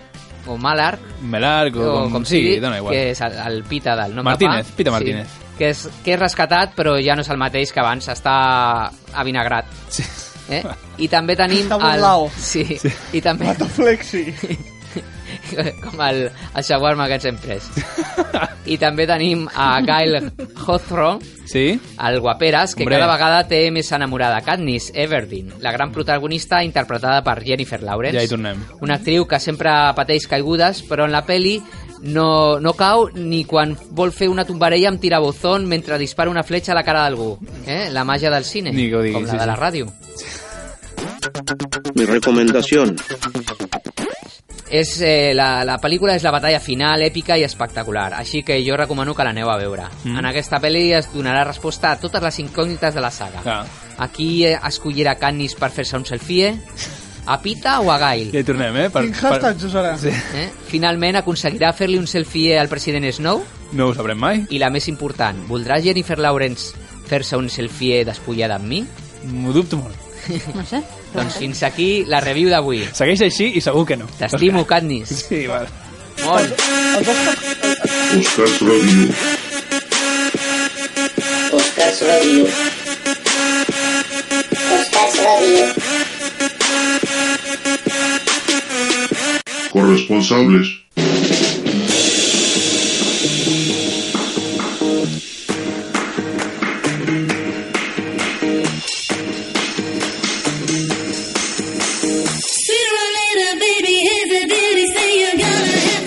o Malark,
Melarc, o, com, com sigui, dona igual.
que és el, el Pita del nom
Martínez,
de pa.
Pita Martínez.
Sí, que, és, que és rescatat, però ja no és el mateix que abans, està avinagrat. Sí. Eh? <laughs> I també tenim...
Està burlao.
Sí. sí. I també...
Flexi.
com el, el shawarma que ens hem
<laughs>
pres. I també tenim a Kyle Hawthorne,
sí?
el Guaperas, que
Hombre.
cada vegada té més enamorada Katniss Everdeen, la gran protagonista interpretada per Jennifer Lawrence.
Ja hi tornem.
Una actriu que sempre pateix caigudes, però en la peli no, no cau ni quan vol fer una tombarella amb tirabozón mentre dispara una fletxa a la cara d'algú. Eh? La màgia del cine,
Ni que ho digui,
com la
sí,
de la
sí.
ràdio.
Mi recomendación.
És, eh, la, la pel·lícula és la batalla final, èpica i espectacular, així que jo recomano que l'aneu a veure.
Mm.
Mm. En aquesta pel·li es donarà resposta a totes les incògnites de la saga.
Ah.
Aquí eh, escollirà Katniss per fer-se un selfie, a Pita o a Gail.
Ja hi tornem, eh? Per,
Quin hashtag usarà? Sí.
Eh? Finalment aconseguirà fer-li un selfie al president Snow?
No ho sabrem mai.
I la més important, voldrà Jennifer Lawrence fer-se un selfie despullada amb mi?
M'ho dubto molt.
No sé.
Doncs fins aquí la review d'avui.
Segueix així i segur que no.
T'estimo, Katniss.
<laughs> Sí, val.
Molt.
Oscars Radio.
Oscars Radio. Oscars Radio.
Corresponsables.
Sooner or later, baby, here's a deal. You say you're gonna have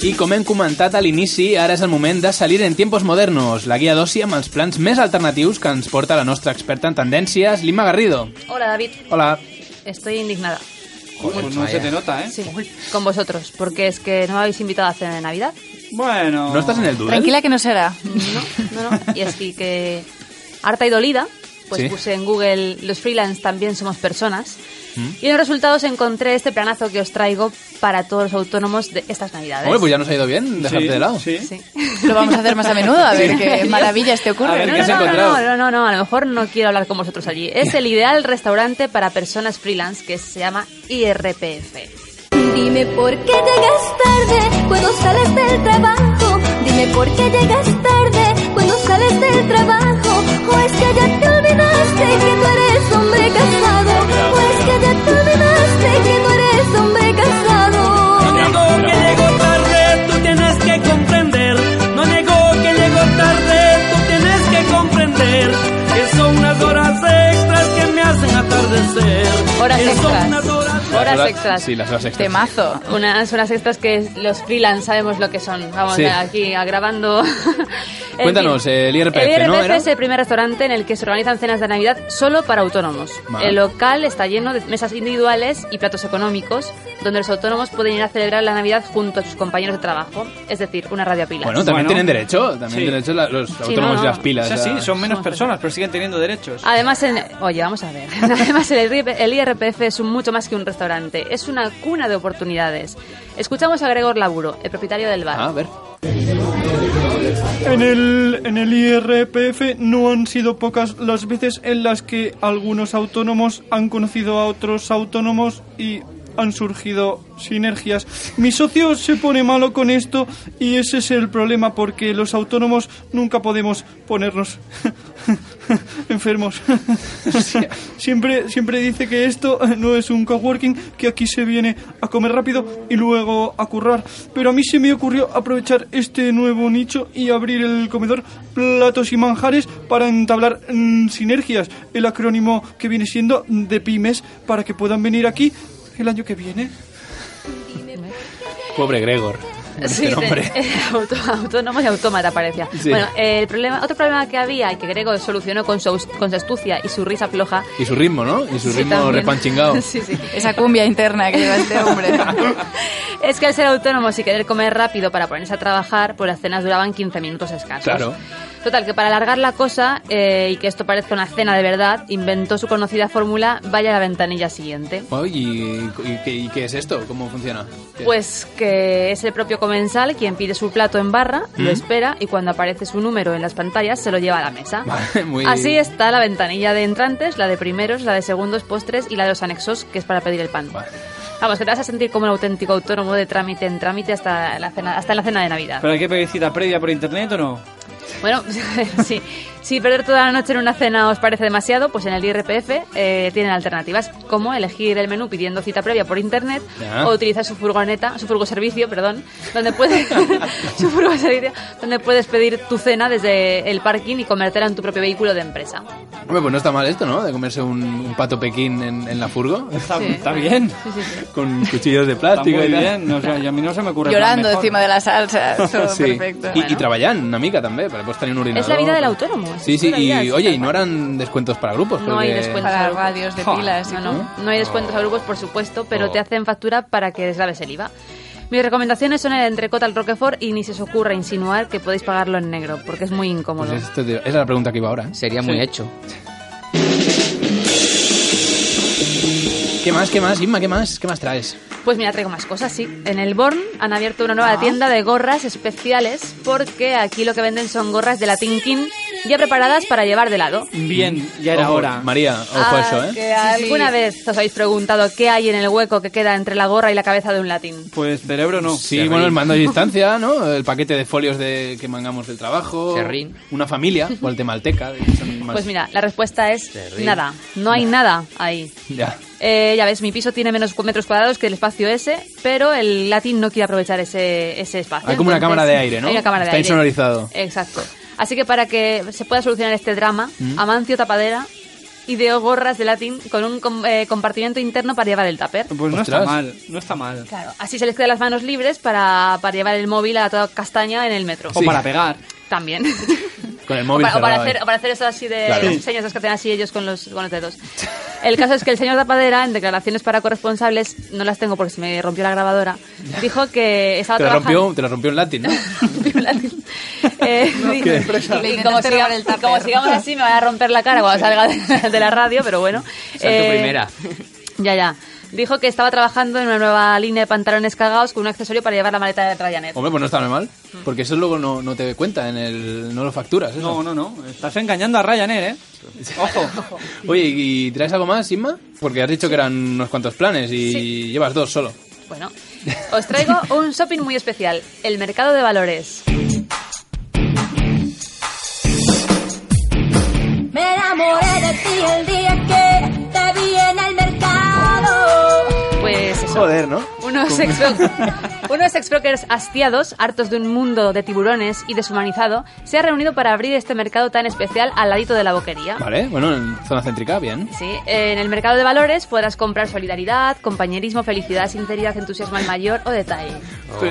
to.
I I com hem comentat a l'inici, ara és el moment de salir en tiempos modernos, la guia d'oci amb els plans més alternatius que ens porta la nostra experta en tendències, Lima Garrido.
Hola, David.
Hola.
Estoy indignada.
pues no se te
nota,
¿eh?
Sí, con vosotros, porque es que no me habéis invitado a la cena de Navidad.
Bueno...
¿No estás en el Doodle?
Tranquila que no será.
No, no, no. Y así que, harta y dolida, pues
Sí.
puse en Google los freelance también somos personas.
Mm.
Y en los resultados encontré este planazo que os traigo para todos los autónomos de estas Navidades.
Oye, pues ya nos ha ido bien dejarte
Sí,
de lado.
Sí.
<laughs> Lo vamos a hacer más a menudo, a ver
Sí.
<laughs> qué maravillas te ocurren.
A ver
no,
qué
no,
se ha
no,
encontrado.
no, no, no, no, a lo mejor no quiero hablar con vosotros allí. Es el ideal restaurante para personas freelance que se llama IRPF.
Dime por qué llegas tarde cuando sales del trabajo. Dime por qué llegas tarde cuando sales del trabajo. O es que ya te olvidaste que tú eres hombre casado. O es que ya te olvidaste que tú eres hombre casado.
<laughs> No nego que llegó tarde, tú tienes que comprender. No nego que llegó tarde, tú tienes que comprender. Que son unas horas extras que me hacen atardecer.
Horas
que
extras.
Son unas horas,
Horas extras.
Sí, las horas extras.
Temazo.
Unas, unas extras que los freelance sabemos lo que son. Vamos
Sí.
aquí agravando. <laughs> En fin.
Cuéntanos, el IRPF,
El IRPF
¿no? Era?
es el primer restaurante en el que se organizan cenas de Navidad solo para autónomos.
Vale.
El local está lleno de mesas individuales y platos económicos, donde los autónomos pueden ir a celebrar la Navidad junto a sus compañeros de trabajo, es decir, una radio a pilas.
Bueno, también tienen derecho, también tienen derecho la- los autónomos
no,
y las
no.
pilas.
Sí, sí,
a-
Son menos personas, pero siguen teniendo derechos.
Además, en- oye, vamos a ver. <laughs> Además, el, IRP el IRPF es un- mucho más que un restaurante, es una cuna de oportunidades. Escuchamos a Gregor Laburo, el propietario del bar.
Ah, a ver.
En el, en el IRPF no han sido pocas las veces en las que algunos autónomos han conocido a otros autónomos y han surgido sinergias. Mi socio se pone malo con esto y ese es el problema porque los autónomos nunca podemos ponernos enfermos. <laughs> siempre, siempre dice que esto no es un coworking, que aquí se viene a comer rápido y luego a currar. Pero a mí se me ocurrió aprovechar este nuevo nicho y abrir el comedor platos y manjares para entablar mm, sinergias, el acrónimo que viene siendo de pymes, para que puedan venir aquí el año que viene.
Pobre Gregor.
<laughs>
Este
Sí, te- <laughs>
hombre.
auto- autónomo y autómata parecía.
Sí.
Bueno, eh, el problema, otro problema que había y que Grego solucionó con su, aus- con su astucia y su risa floja.
Y su ritmo, ¿no? Y su
Sí,
ritmo
también.
repanchingado.
<laughs> Sí, sí.
Esa cumbia interna que lleva este hombre.
<laughs> Es que al ser autónomos y querer comer rápido para ponerse a trabajar, pues las cenas duraban 15 minutos escasos.
Claro.
Total, que para alargar la cosa eh, y que esto parezca una cena de verdad, inventó su conocida fórmula Vaya a la ventanilla siguiente.
Oye, ¿y, y qué- y qué es esto? ¿Cómo funciona? ¿Qué-
Pues que es el propio comensal quien pide su plato en barra,
¿Mm?
lo espera y cuando aparece su número en las pantallas se lo lleva a la mesa.
Muy-
Así está la ventanilla de entrantes, la de primeros, la de segundos postres y la de los anexos, que es para pedir el pan. Vamos, que te vas a sentir como un auténtico autónomo de trámite en trámite hasta la cena, hasta la cena de Navidad.
¿Pero hay que pedir cita previa por internet o no?
Bueno, <laughs> sí, si perder toda la noche en una cena os parece demasiado, pues en el IRPF eh, tienen alternativas como elegir el menú pidiendo cita previa por internet
Ya.
o utilizar su furgoneta, su furgoservicio, perdón, donde puedes <laughs> su furgoservicio, donde puedes pedir tu cena desde el parking y convertirla en tu propio vehículo de empresa.
Hombre, pues no está mal esto, ¿no? De comerse un, un pato pequín en, en la furgo. Está,
Sí. está
bien.
Sí, sí, sí.
Con cuchillos de plástico.
Está muy
y tal.
bien, no, o sea, y a mí no se me ocurre
Llorando encima de la
<laughs>
salsa. Todo
Sí.
perfecto.
I, I treballant una mica també, perquè pots tenir pues un
la
ordinador.
vida del autónomo, és
Sí, sí,
la
i,
vida, és
oye, i no harán descuentos para grupos.
No hay
perquè-
descuentos
Para
a grupos.
radios de pilas y
No, no, no hay descuentos a grupos, por supuesto, pero
Oh.
te hacen factura para que desgraves el IVA. Mis recomendaciones son el entrecot al Roquefort y ni se os ocurra insinuar que podéis pagarlo en negro, porque es muy incómodo.
Pues esto te- esa es la pregunta que iba ahora. ¿eh?
Sería muy hecho.
¿Qué más, qué más, Inma, qué más? ¿Qué más traes?
Pues mira, traigo más cosas, sí. En el Born han abierto una nueva
Ah.
tienda de gorras especiales porque aquí lo que venden son gorras de la Tinkin ya preparadas para llevar de lado.
Bien, ya era
Ojo,
hora.
María, ojo a eso, ¿eh?
Ah, Que alguna vez os habéis preguntado qué hay en el hueco que queda entre la gorra y la cabeza de un latín.
Pues cerebro no.
Sí, bueno, el mando a distancia, ¿no? El paquete de folios de que mangamos del trabajo.
Serrín.
Una familia, guatemalteca. que son más-
Pues mira, la respuesta es
Se ríe.
nada. No hay nada ahí.
Ya.
Eh, ya ves, mi piso tiene menos metros cuadrados que el espacio ese, pero el latín no quiere aprovechar ese, ese espacio.
Hay como una
Entonces,
cámara de aire, ¿no?
Hay una cámara de
Está
aire.
insonorizado.
Exacto. Así que para que se pueda solucionar este drama,
Mm.
Amancio Tapadera ideó gorras de latín con un com- eh, compartimiento interno para llevar el tupper.
Pues no
Ostras.
está mal, no está mal.
Claro, así se les queda las manos libres para, para llevar el móvil a toda castaña en el metro.
O para pegar.
También.
Con el
<laughs> O
móvil
para, o para
cerrado ahí.
hacer, o para hacer eso así de
Claro.
los señas esas que hacen así ellos con los, con los dedos. El caso es que el señor Tapadera, en declaraciones para corresponsables, no las tengo porque se me rompió la grabadora, dijo que estaba
Te la
trabajando...
rompió, te la rompió un latín, ¿no?
<laughs> Eh,
No,
y-
¿qué?
y como, siga- y como sigamos así me va a romper la cara cuando salga de, de la radio, pero bueno. Eh,
Esa es tu primera.
Ya, ya. Dijo que estaba trabajando en una nueva línea de pantalones cagados con un accesorio para llevar la maleta de
Oh.
Ryanair.
Hombre, pues no está mal.
Mm.
Porque eso luego no, no te cuenta, en el, no lo facturas. Eso.
No, no, no. Estás engañando a
<laughs>
Ryanair, ¿eh? Ojo.
Oye, ¿y traes algo más, Inma? Porque has dicho que eran unos cuantos planes y
Sí.
llevas dos solo.
Bueno, os traigo un shopping muy especial, el mercado de valores.
Me enamoré de ti el día que te vi en el mercado.
Pues eso.
Joder, ¿no?
Unos ex unos ex-brokers hastiados, hartos de un mundo de tiburones y deshumanizado, se ha reunido para abrir este mercado tan especial al ladito de la boquería.
Vale, bueno, en zona céntrica, bien.
Sí, en el mercado de valores podrás comprar solidaridad, compañerismo, felicidad, sinceridad, entusiasmo al mayor o detalle.
Oh,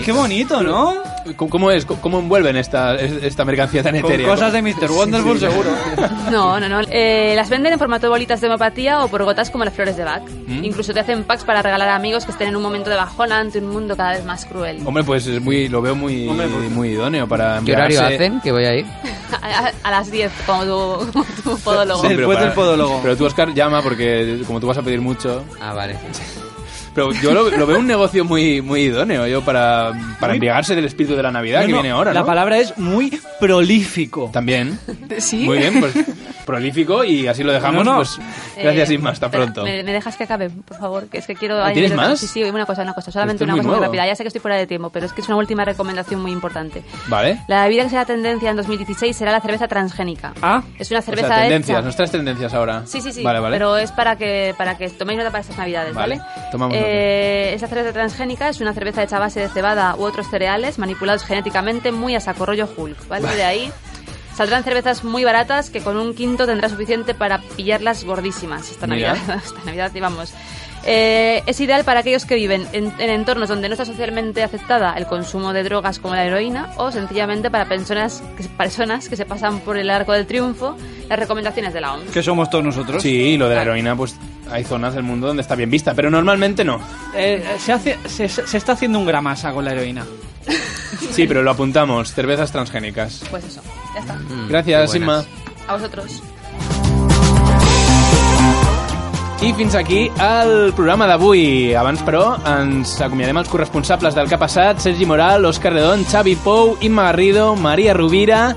qué, bonito. ¿no? ¿Cómo, cómo es? ¿Cómo envuelven esta, esta mercancía tan
Con
etérea?
cosas de Mr. Wonderful seguro.
No, no, no. Eh, las venden en formato de bolitas de homeopatía o por gotas como las flores de Bach.
Mm.
Incluso te hacen packs para regalar a amigos que estén en un momento de bajona ante un mundo cada vez más cruel.
Hombre, pues es muy, lo veo muy,
pues
muy idóneo para
¿Qué horario
embriagarse.
hacen? Que voy a ir.
<laughs> A, a- a las 10, como tu, como tu podólogo.
Sí, pero
Después
para-
del podólogo.
Pero tú, Oscar, llama porque como tú vas a pedir mucho.
Ah, vale.
Pero yo lo, lo veo un negocio muy, muy idóneo yo para, para embriagarse del espíritu de la Navidad
No,
que
no,
viene ahora.
La
¿no?
palabra es muy prolífico.
También.
¿Sí?
Muy bien, pues prolífico y así lo dejamos.
No, no.
Pues, gracias,
Eh,
Isma. Hasta
espera,
pronto.
¿Me, me dejas que acabe, por favor? Que es que quiero...
¿Ah,
añadir
tienes
otra-
más?
Sí, sí, una cosa, una cosa.
Esto
Solamente
es
una
muy
cosa muy
nuevo.
rápida. Ya sé que estoy fuera de tiempo, pero es que es una última recomendación muy importante.
Vale.
La bebida que será tendencia en 2016 será la cerveza transgénica.
Ah.
Es una cerveza
o sea, tendencias,
hecha...
nuestras tendencias ahora.
Sí, sí, sí,
Vale, vale.
pero es para que, para que toméis nota para estas navidades, ¿vale?
Vale, tomamos
Eh, esta cerveza transgénica es una cerveza hecha a base de cebada u otros cereales manipulados genéticamente muy a sacorrollo Hulk, ¿vale?
Vale.
De ahí saldrán cervezas muy baratas que con un quinto tendrá suficiente para pillarlas gordísimas esta
Mira.
Navidad. <laughs> esta Navidad, y vamos. Eh, es ideal para aquellos que viven en, en entornos donde no está socialmente aceptada el consumo de drogas como la heroína o sencillamente para personas que, personas que se pasan por el arco del triunfo las recomendaciones de la OMS.
Que somos todos nosotros. Sí, y lo de la heroína, pues hay zonas del mundo donde está bien vista, pero normalmente no.
Eh, se, hace, se, se está haciendo un gramasa con la heroína.
Sí, pero lo apuntamos. Cervezas transgénicas.
Pues eso, ya está.
Gracias,
qué
Inma.
buenas.
A vosotros.
I fins aquí el programa d'avui. Abans, però, ens acomiadem els corresponsables del que ha passat, Sergi Moral, Òscar Redon, Xavi Pou, Imma Garrido, Maria Rovira,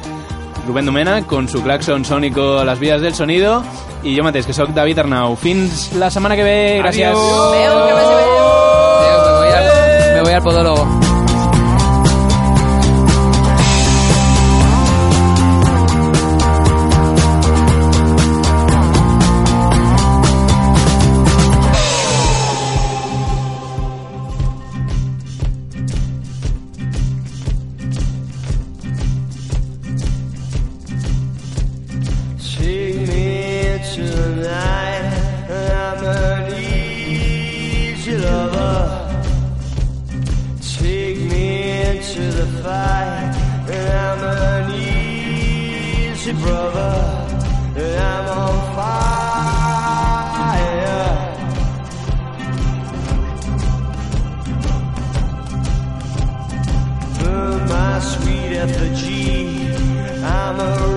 Rubén Domena, con su claxon sónico a las vías del sonido, i jo mateix, que sóc David Arnau. Fins la setmana que ve. Gràcies.
Adiós, me voy al- me voy al podólogo.
Take me tonight, I'm an easy lover. Take me into the fight, and I'm an easy brother. And I'm on fire. Burn my sweet effigy, I'm a